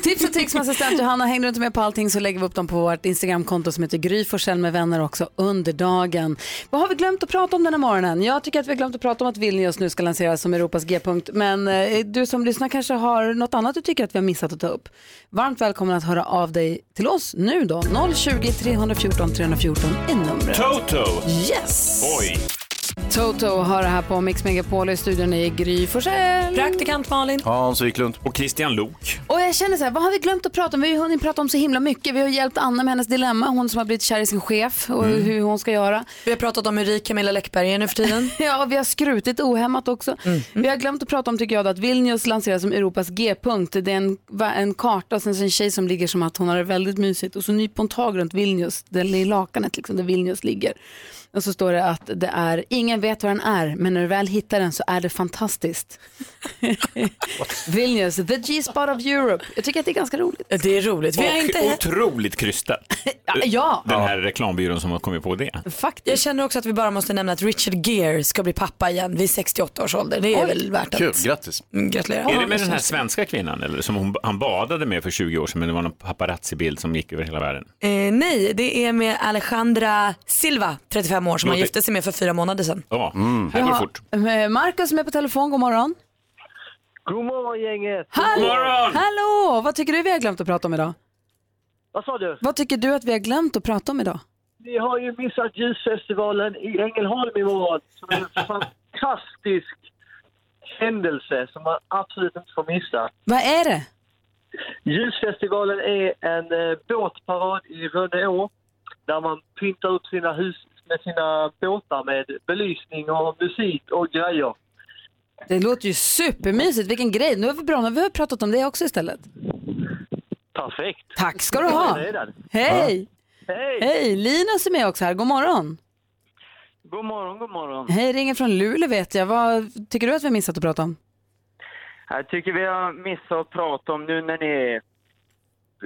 A: Tips och tricks med assistent Johanna. Hänger du inte med på allting så lägger vi upp dem på vårt Instagramkonto som heter Gry Forssell med vänner också under dagen. Vad har vi glömt att prata om den här morgonen? Jag tycker att vi har glömt att prata om att Vilnius nu ska lanseras som Europas G-punkt. Men eh, du som lyssnar kanske har något annat du tycker att vi har missat att ta upp. Varmt välkommen att höra av dig till oss nu då. 020 314 314 är numret.
M: Toto!
A: Yes!
M: Oj!
A: Toto har det här på Mix Megapol i studion i Gry Forssell.
B: Praktikant Malin.
C: Hans Wiklund.
M: Och Christian Lok.
A: Och jag känner så här, vad har vi glömt att prata om? Vi har ju hunnit prata om så himla mycket. Vi har hjälpt Anna med hennes dilemma, hon som har blivit kär i sin chef och
B: Mm.
A: hur hon ska göra.
B: Vi har pratat om hur rik Camilla Läckberg är nu för tiden. Mm.
A: ja, och vi har skrutit ohämmat också. Vi har glömt att prata om, tycker jag, att Vilnius lanseras som Europas G-punkt. Det är en, va- en karta och sen så en tjej som ligger som att hon har det väldigt mysigt och så nyper hon tag runt Vilnius, där i lakanet liksom, där Vilnius ligger. Och så står det att det är, ingen vet vad den är, men när du väl hittar den så är det fantastiskt. Vilnius, the G-spot of Europe. Jag tycker att det är ganska roligt.
B: Det är roligt.
M: och otroligt krystat.
A: ja.
M: Den här reklambyrån som har kommit på det.
A: Faktiskt.
B: Jag känner också att vi bara måste nämna att Richard Gere ska bli pappa igen vid 68 års ålder. Det är väl värt att...
M: Kul,
C: grattis.
B: gratulerar.
M: Är det med den här svenska kvinnan eller som hon, han badade med för 20 år sedan men det var någon paparazzi-bild som gick över hela världen?
B: Eh, nej, det är med Alejandra Silva, 35 år, som han
M: Låter-
B: gifte sig med för fyra månader sedan.
M: Ja, här går det fort.
A: Eh, Marcus som är på telefon, god morgon.
Q: God morgon gänget!
A: Hallå! Hallå! Vad tycker du vi har glömt att prata om idag?
Q: Vad sa du?
A: Vad tycker du att vi har glömt att prata om idag?
Q: Ni har ju missat ljusfestivalen i Ängelholm imorgon som är en fantastisk händelse som man absolut inte får missa.
A: Vad är det?
Q: Ljusfestivalen är en eh, båtparad i Rönneå där man pyntar upp sina hus med sina båtar med belysning och musik och grejer.
A: Det låter ju supermysigt, vilken grej. Nu har vi, bra, nu har vi pratat om det också istället.
Q: Perfekt!
A: Tack ska du ha.
Q: Redan.
A: Hej!
Q: Hej!
A: Hej! Linus är med också här, god morgon.
Q: God morgon, god morgon.
A: Hej, ringer från Luleå vet jag. Vad tycker du att vi har missat att prata om?
Q: Jag tycker vi har missat att prata om nu när ni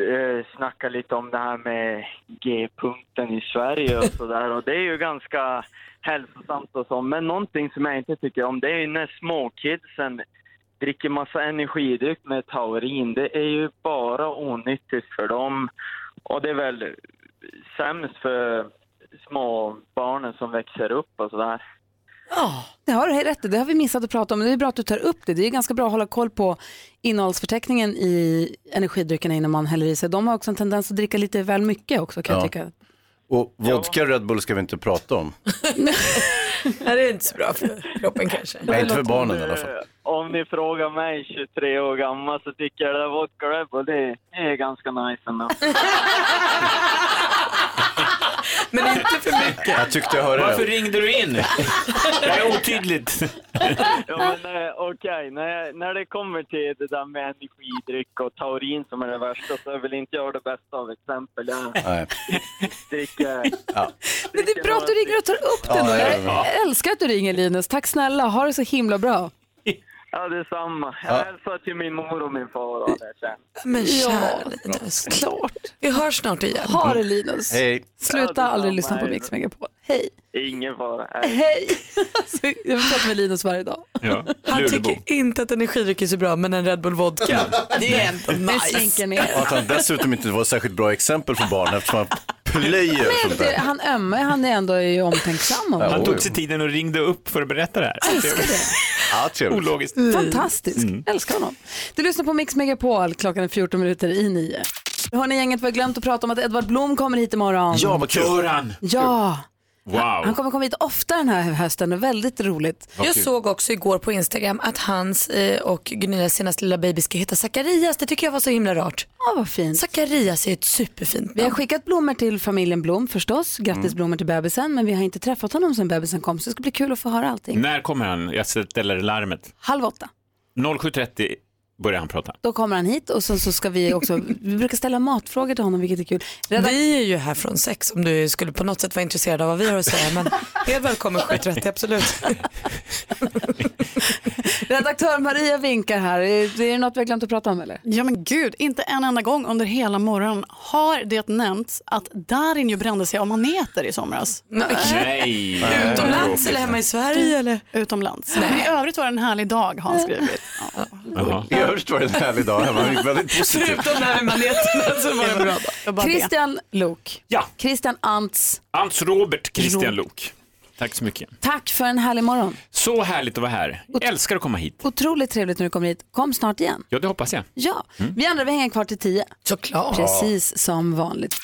Q: eh, snackar lite om det här med G-punkten i Sverige och sådär. Och det är ju ganska hälsosamt och så. Men någonting som jag inte tycker om det är ju när småkidsen dricker massa energidryck med taurin. Det är ju bara onyttigt för dem. Och det är väl sämst för små barnen som växer upp och sådär.
A: Ja, det har du rätt i. Det har vi missat att prata om. Men det är bra att du tar upp det. Det är ganska bra att hålla koll på innehållsförteckningen i energidryckerna innan man häller i sig. De har också en tendens att dricka lite väl mycket också kan
C: Ja.
A: jag tycka.
C: Och vodka och Red Bull ska vi inte prata om.
B: Nej, det är inte så bra för kroppen kanske.
C: Nej, inte för barnen i alla fall.
Q: Om ni frågar mig, 23 år gammal, så tycker jag det där vodka Red Bull, det är ganska nice ändå.
N: Men inte för mycket.
C: Jag tyckte jag hörde
M: Varför
C: det.
M: ringde du in? Det är otydligt.
Q: Ja, men, eh, Okej, när, när det kommer till det där med energidryck och taurin som är det värsta så vill inte jag det bästa av exempel. Jag
C: Nej.
Q: dricker...
C: Ja.
A: Men det är bra att du ringer och tar upp det
Q: Ja,
A: då.
Q: det är bra.
A: Jag älskar att du ringer Linus. Tack snälla, ha det så himla bra.
Q: Ja, detsamma. Jag
A: Ja.
Q: hälsar till min mor och min far. Och det sen.
B: Men kära
A: Ja.
B: Linus, klart. Vi hörs snart igen.
A: Ha det Linus.
Q: Hej.
A: Sluta aldrig lyssna på Mix Megapol. Hej.
Q: Ingen fara.
A: Hej. Alltså, jag vill prata med Linus varje dag.
M: Ja.
B: Han
C: Luleåbo.
B: tycker inte att energidryck är så bra, men en Red Bull vodka, det är ändå
A: Det
B: nice.
A: slinker
C: Och
A: ner.
C: att han dessutom inte var ett särskilt bra exempel för barn eftersom han plöjer sånt
A: Det,
C: där.
A: han ömmar, han är ändå ju omtänksam. om
M: Han
A: det.
M: tog sig tiden och ringde upp för att berätta det här.
C: Ja, trevligt.
M: Ologiskt.
A: Fantastisk,
M: Mm.
A: älskar honom. Du lyssnar på Mix Megapol, klockan är 14 minuter i nio. Hörni gänget, vi har glömt att prata om att Edvard Blom kommer hit imorgon.
M: Ja, vad kul. Gör han?
A: Ja, han
M: Wow.
A: kommer komma hit ofta den här hösten och väldigt roligt.
B: Jag såg också igår på Instagram att hans eh, och Gunillas senaste lilla baby ska heta Zacharias. Det tycker jag var så himla rart.
A: Ja, vad fint.
B: Zacharias är ett superfint
A: Vi har
B: namn.
A: skickat blommor till familjen Blom förstås, grattisblommor till bebisen, men vi har inte träffat honom sedan bebisen kom, så det ska bli kul att få höra allting.
M: När kommer han? Jag ställer larmet.
A: Halv åtta.
M: 07.30 börjar han prata.
A: Då kommer han hit och sen så ska vi också, vi brukar ställa matfrågor till honom vilket är kul.
B: Vi är ju här från sex om du skulle på något sätt vara intresserad av vad vi har att säga. Men helt välkommen 7.30, absolut.
A: Redaktör Maria vinkar här, är är det något vi har glömt att prata om eller?
P: Ja men gud, inte en enda gång under hela morgonen har det nämnts att Darin ju brände sig av maneter i somras. Mm.
M: Nej.
B: Utomlands eller hemma i Sverige? Eller?
P: Utomlands. Men i övrigt var det en härlig dag har han
A: Eh,
P: skrivit.
C: I övrigt var det en härlig dag. Han var väldigt positiv.
B: Förutom där med maneterna så var det bra.
A: Christian Lok.
M: Ja.
A: Christian Ants,
M: Hans Robert Christian Lok. Tack så mycket.
A: tack för en härlig morgon.
M: Så härligt att vara här. Jag älskar att komma hit.
A: Otroligt trevligt när du kommer hit. Kom snart igen.
M: Ja, det hoppas jag. Mm.
A: Ja, vi andra vi hänger kvar till tio.
B: Mm. Såklart.
A: Precis som vanligt.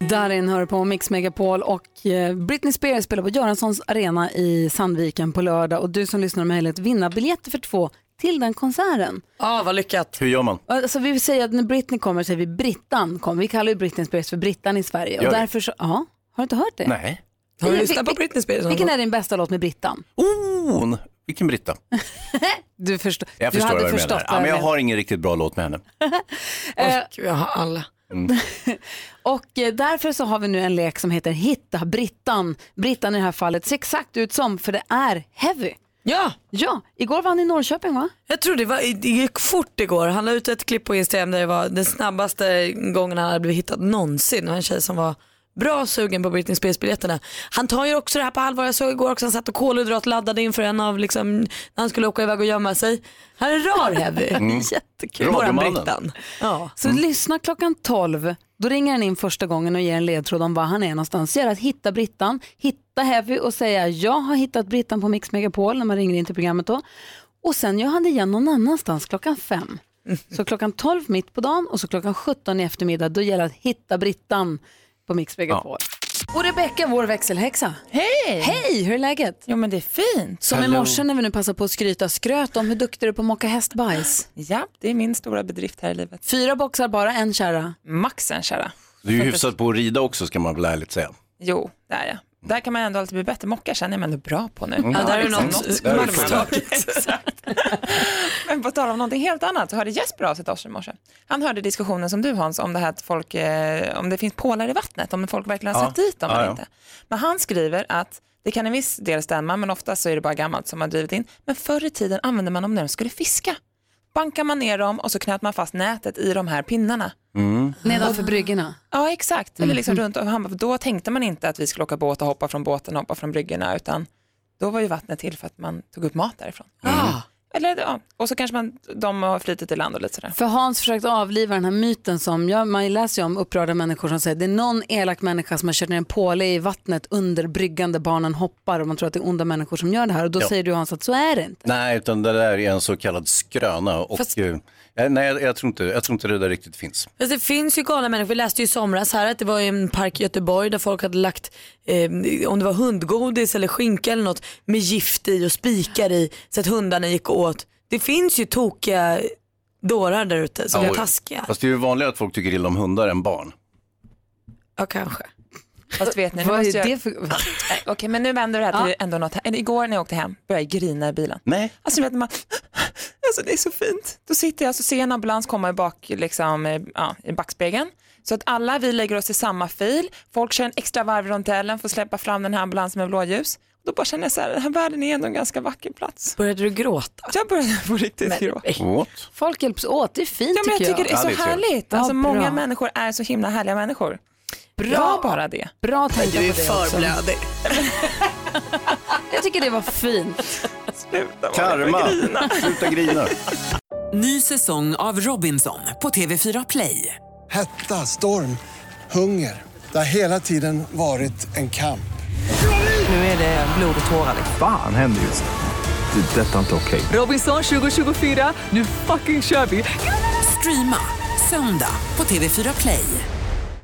A: Darin hör på Mix Megapol och eh, Britney Spears spelar på Göranssons arena i Sandviken på lördag och du som lyssnar har möjlighet att vinna biljetter för två till den konserten.
B: Ja, vad lyckat.
C: Hur gör man?
A: Alltså vi säger att när Britney kommer säger vi Brittan kommer. Vi kallar ju Britney Spears för Brittan i Sverige
B: Gör
A: och
B: vi?
A: därför så, ja, har du inte hört det?
C: Nej.
B: Har du
A: Vil-
B: lyssnat på
A: vil-
B: Britney Spears?
A: Vilken är din bästa låt med Brittan?
C: Hon, vilken Britta.
A: Du, förstår.
C: Jag
A: du
C: förstår
A: hade
C: vad du
A: förstått
C: menar. Ja, men jag har ingen riktigt bra låt med henne.
A: Eh,
B: Gud, jag har alla.
C: Mm.
A: Och eh, därför så har vi nu en lek som heter Hitta Brittan. Brittan i det här fallet ser exakt ut som, för det är Heavy.
B: Ja!
A: Ja, igår var han i Norrköping va?
B: Jag tror det, var, det gick fort igår. Han la ut ett klipp på Instagram där det var den snabbaste gången han hade blivit hittad någonsin. Det var en tjej som var bra sugen på Britney Spears-biljetterna. Han tar ju också det här på allvar. Jag såg igår också han satt och kolhydratladdade inför en av, liksom, när han skulle åka iväg och gömma sig. Han är rar Heavy. Jättekul. Våran Brittan. Ja.
A: Så
T: Mm.
A: lyssna klockan 12. Då ringer han in första gången och ger en ledtråd om var han är någonstans. Så är det att hitta Brittan, hitta Heavy och säga jag har hittat Brittan på Mix Megapol när man ringer in till programmet då. Och sen gör han det igen någon annanstans klockan 5. Så klockan 12 mitt på dagen och så klockan 17 i eftermiddag då gäller det att hitta Brittan på Mix Megapol. Och Rebecka, vår växelhäxa.
U: Hej!
A: Hej, hur är läget?
U: Jo men det är fint.
A: Som i
U: Hello.
A: morse när vi nu passar på att skryta, skröt om hur duktig du är på att mocka hästbajs.
U: Ja, det är min stora bedrift här i livet.
A: Fyra boxar bara, en kärra.
U: Max en kärra.
C: Du är ju hyfsat på att rida också ska man väl ärligt säga.
U: Jo, det är jag. Där kan man ändå alltid bli bättre. Mocka känner jag mig ändå bra på nu.
C: Mm. Ja, där är
U: liksom
C: något- där är
U: man-
C: förstärkt.
U: Exakt. Men på tal om någonting helt annat så hörde Jesper av sig till oss i morse. Han hörde diskussionen som du Hans om det här att folk, eh, om det finns pålar i vattnet, om folk verkligen har
T: Ja.
U: satt dit dem
T: Ja,
U: eller
T: ja.
U: inte. Men han skriver att det kan en viss del stämma, men oftast så är det bara gammalt som har drivit in. Men förr i tiden använde man dem när de skulle fiska. Bankar man ner dem och så knöt man fast nätet i de här pinnarna.
C: Mm.
A: Nedanför bryggorna.
U: Ja exakt, eller liksom
A: Mhm.
U: runt och han bara, då tänkte man inte att vi skulle åka båt och hoppa från båten och hoppa från bryggorna utan då var ju vattnet till för att man tog upp mat därifrån.
A: Ah.
U: Eller, ja. Och så kanske man, de har flytit i land och lite sådär.
A: För Hans försökte avliva den här myten som, ja, man läser ju om upprörda människor som säger det är någon elak människa som har kört ner en påle i vattnet under bryggan där barnen hoppar och man tror att det är onda människor som gör det här och då
C: Ja.
A: säger du Hans att så är det inte.
C: Nej, utan det där är en så kallad skröna. Och, eh, nej, jag, jag, tror inte, jag tror inte det där riktigt finns.
B: Fast det finns ju galna människor. Vi läste ju i somras här att det var i en park i Göteborg där folk hade lagt, eh, om det var hundgodis eller skinka eller något, med gift i och spikar i så att hundarna gick och åt. Det finns ju tokiga dårar där ute som
C: Ja,
B: är
C: oj.
B: taskiga.
C: Fast det är ju vanligare att folk tycker illa om hundar än barn.
B: Ja, kanske.
U: Fast vet ni, nu
A: Vad
U: måste
A: är
U: jag...
A: det för...
U: Nej, Okej, men nu vänder det här till ändå något. Eller Igår när jag åkte hem började jag grina i bilen.
C: Nej.
U: Alltså, du vet, man... alltså det är så fint. Då sitter jag så ser jag en ambulans komma i, bak, liksom, eh, ja, i backspegeln. Så att alla vi lägger oss i samma fil. Folk kör en extra varv runt rondellen för att släppa fram den här ambulansen med blåljus. Då bara känner jag så här, den här världen är ändå en ganska vacker plats.
B: Började du gråta?
U: Jag började på riktigt
A: Men-
U: gråta.
C: What?
A: Folk hjälps åt, det är fint
U: Ja, men jag
A: tycker
U: tycker det är så
C: Ja, det är trevligt.
U: härligt. Alltså,
A: Ja, bra.
U: många människor är så himla härliga människor. Bra bara det.
A: Bra att tänka
U: Du är
A: på det
U: för
A: också.
U: blödig.
A: Jag tycker det var fint.
C: Karma, sluta grina.
E: Ny säsong av Robinson på TV4 Play.
V: Hetta, storm, hunger. Det har hela tiden varit en kamp.
E: Nu är det blod och tårar.
D: Fan händer just nu. Det. är Detta är inte okej.
E: Robinson 2024, nu fucking kör vi! Streama söndag på TV4 Play.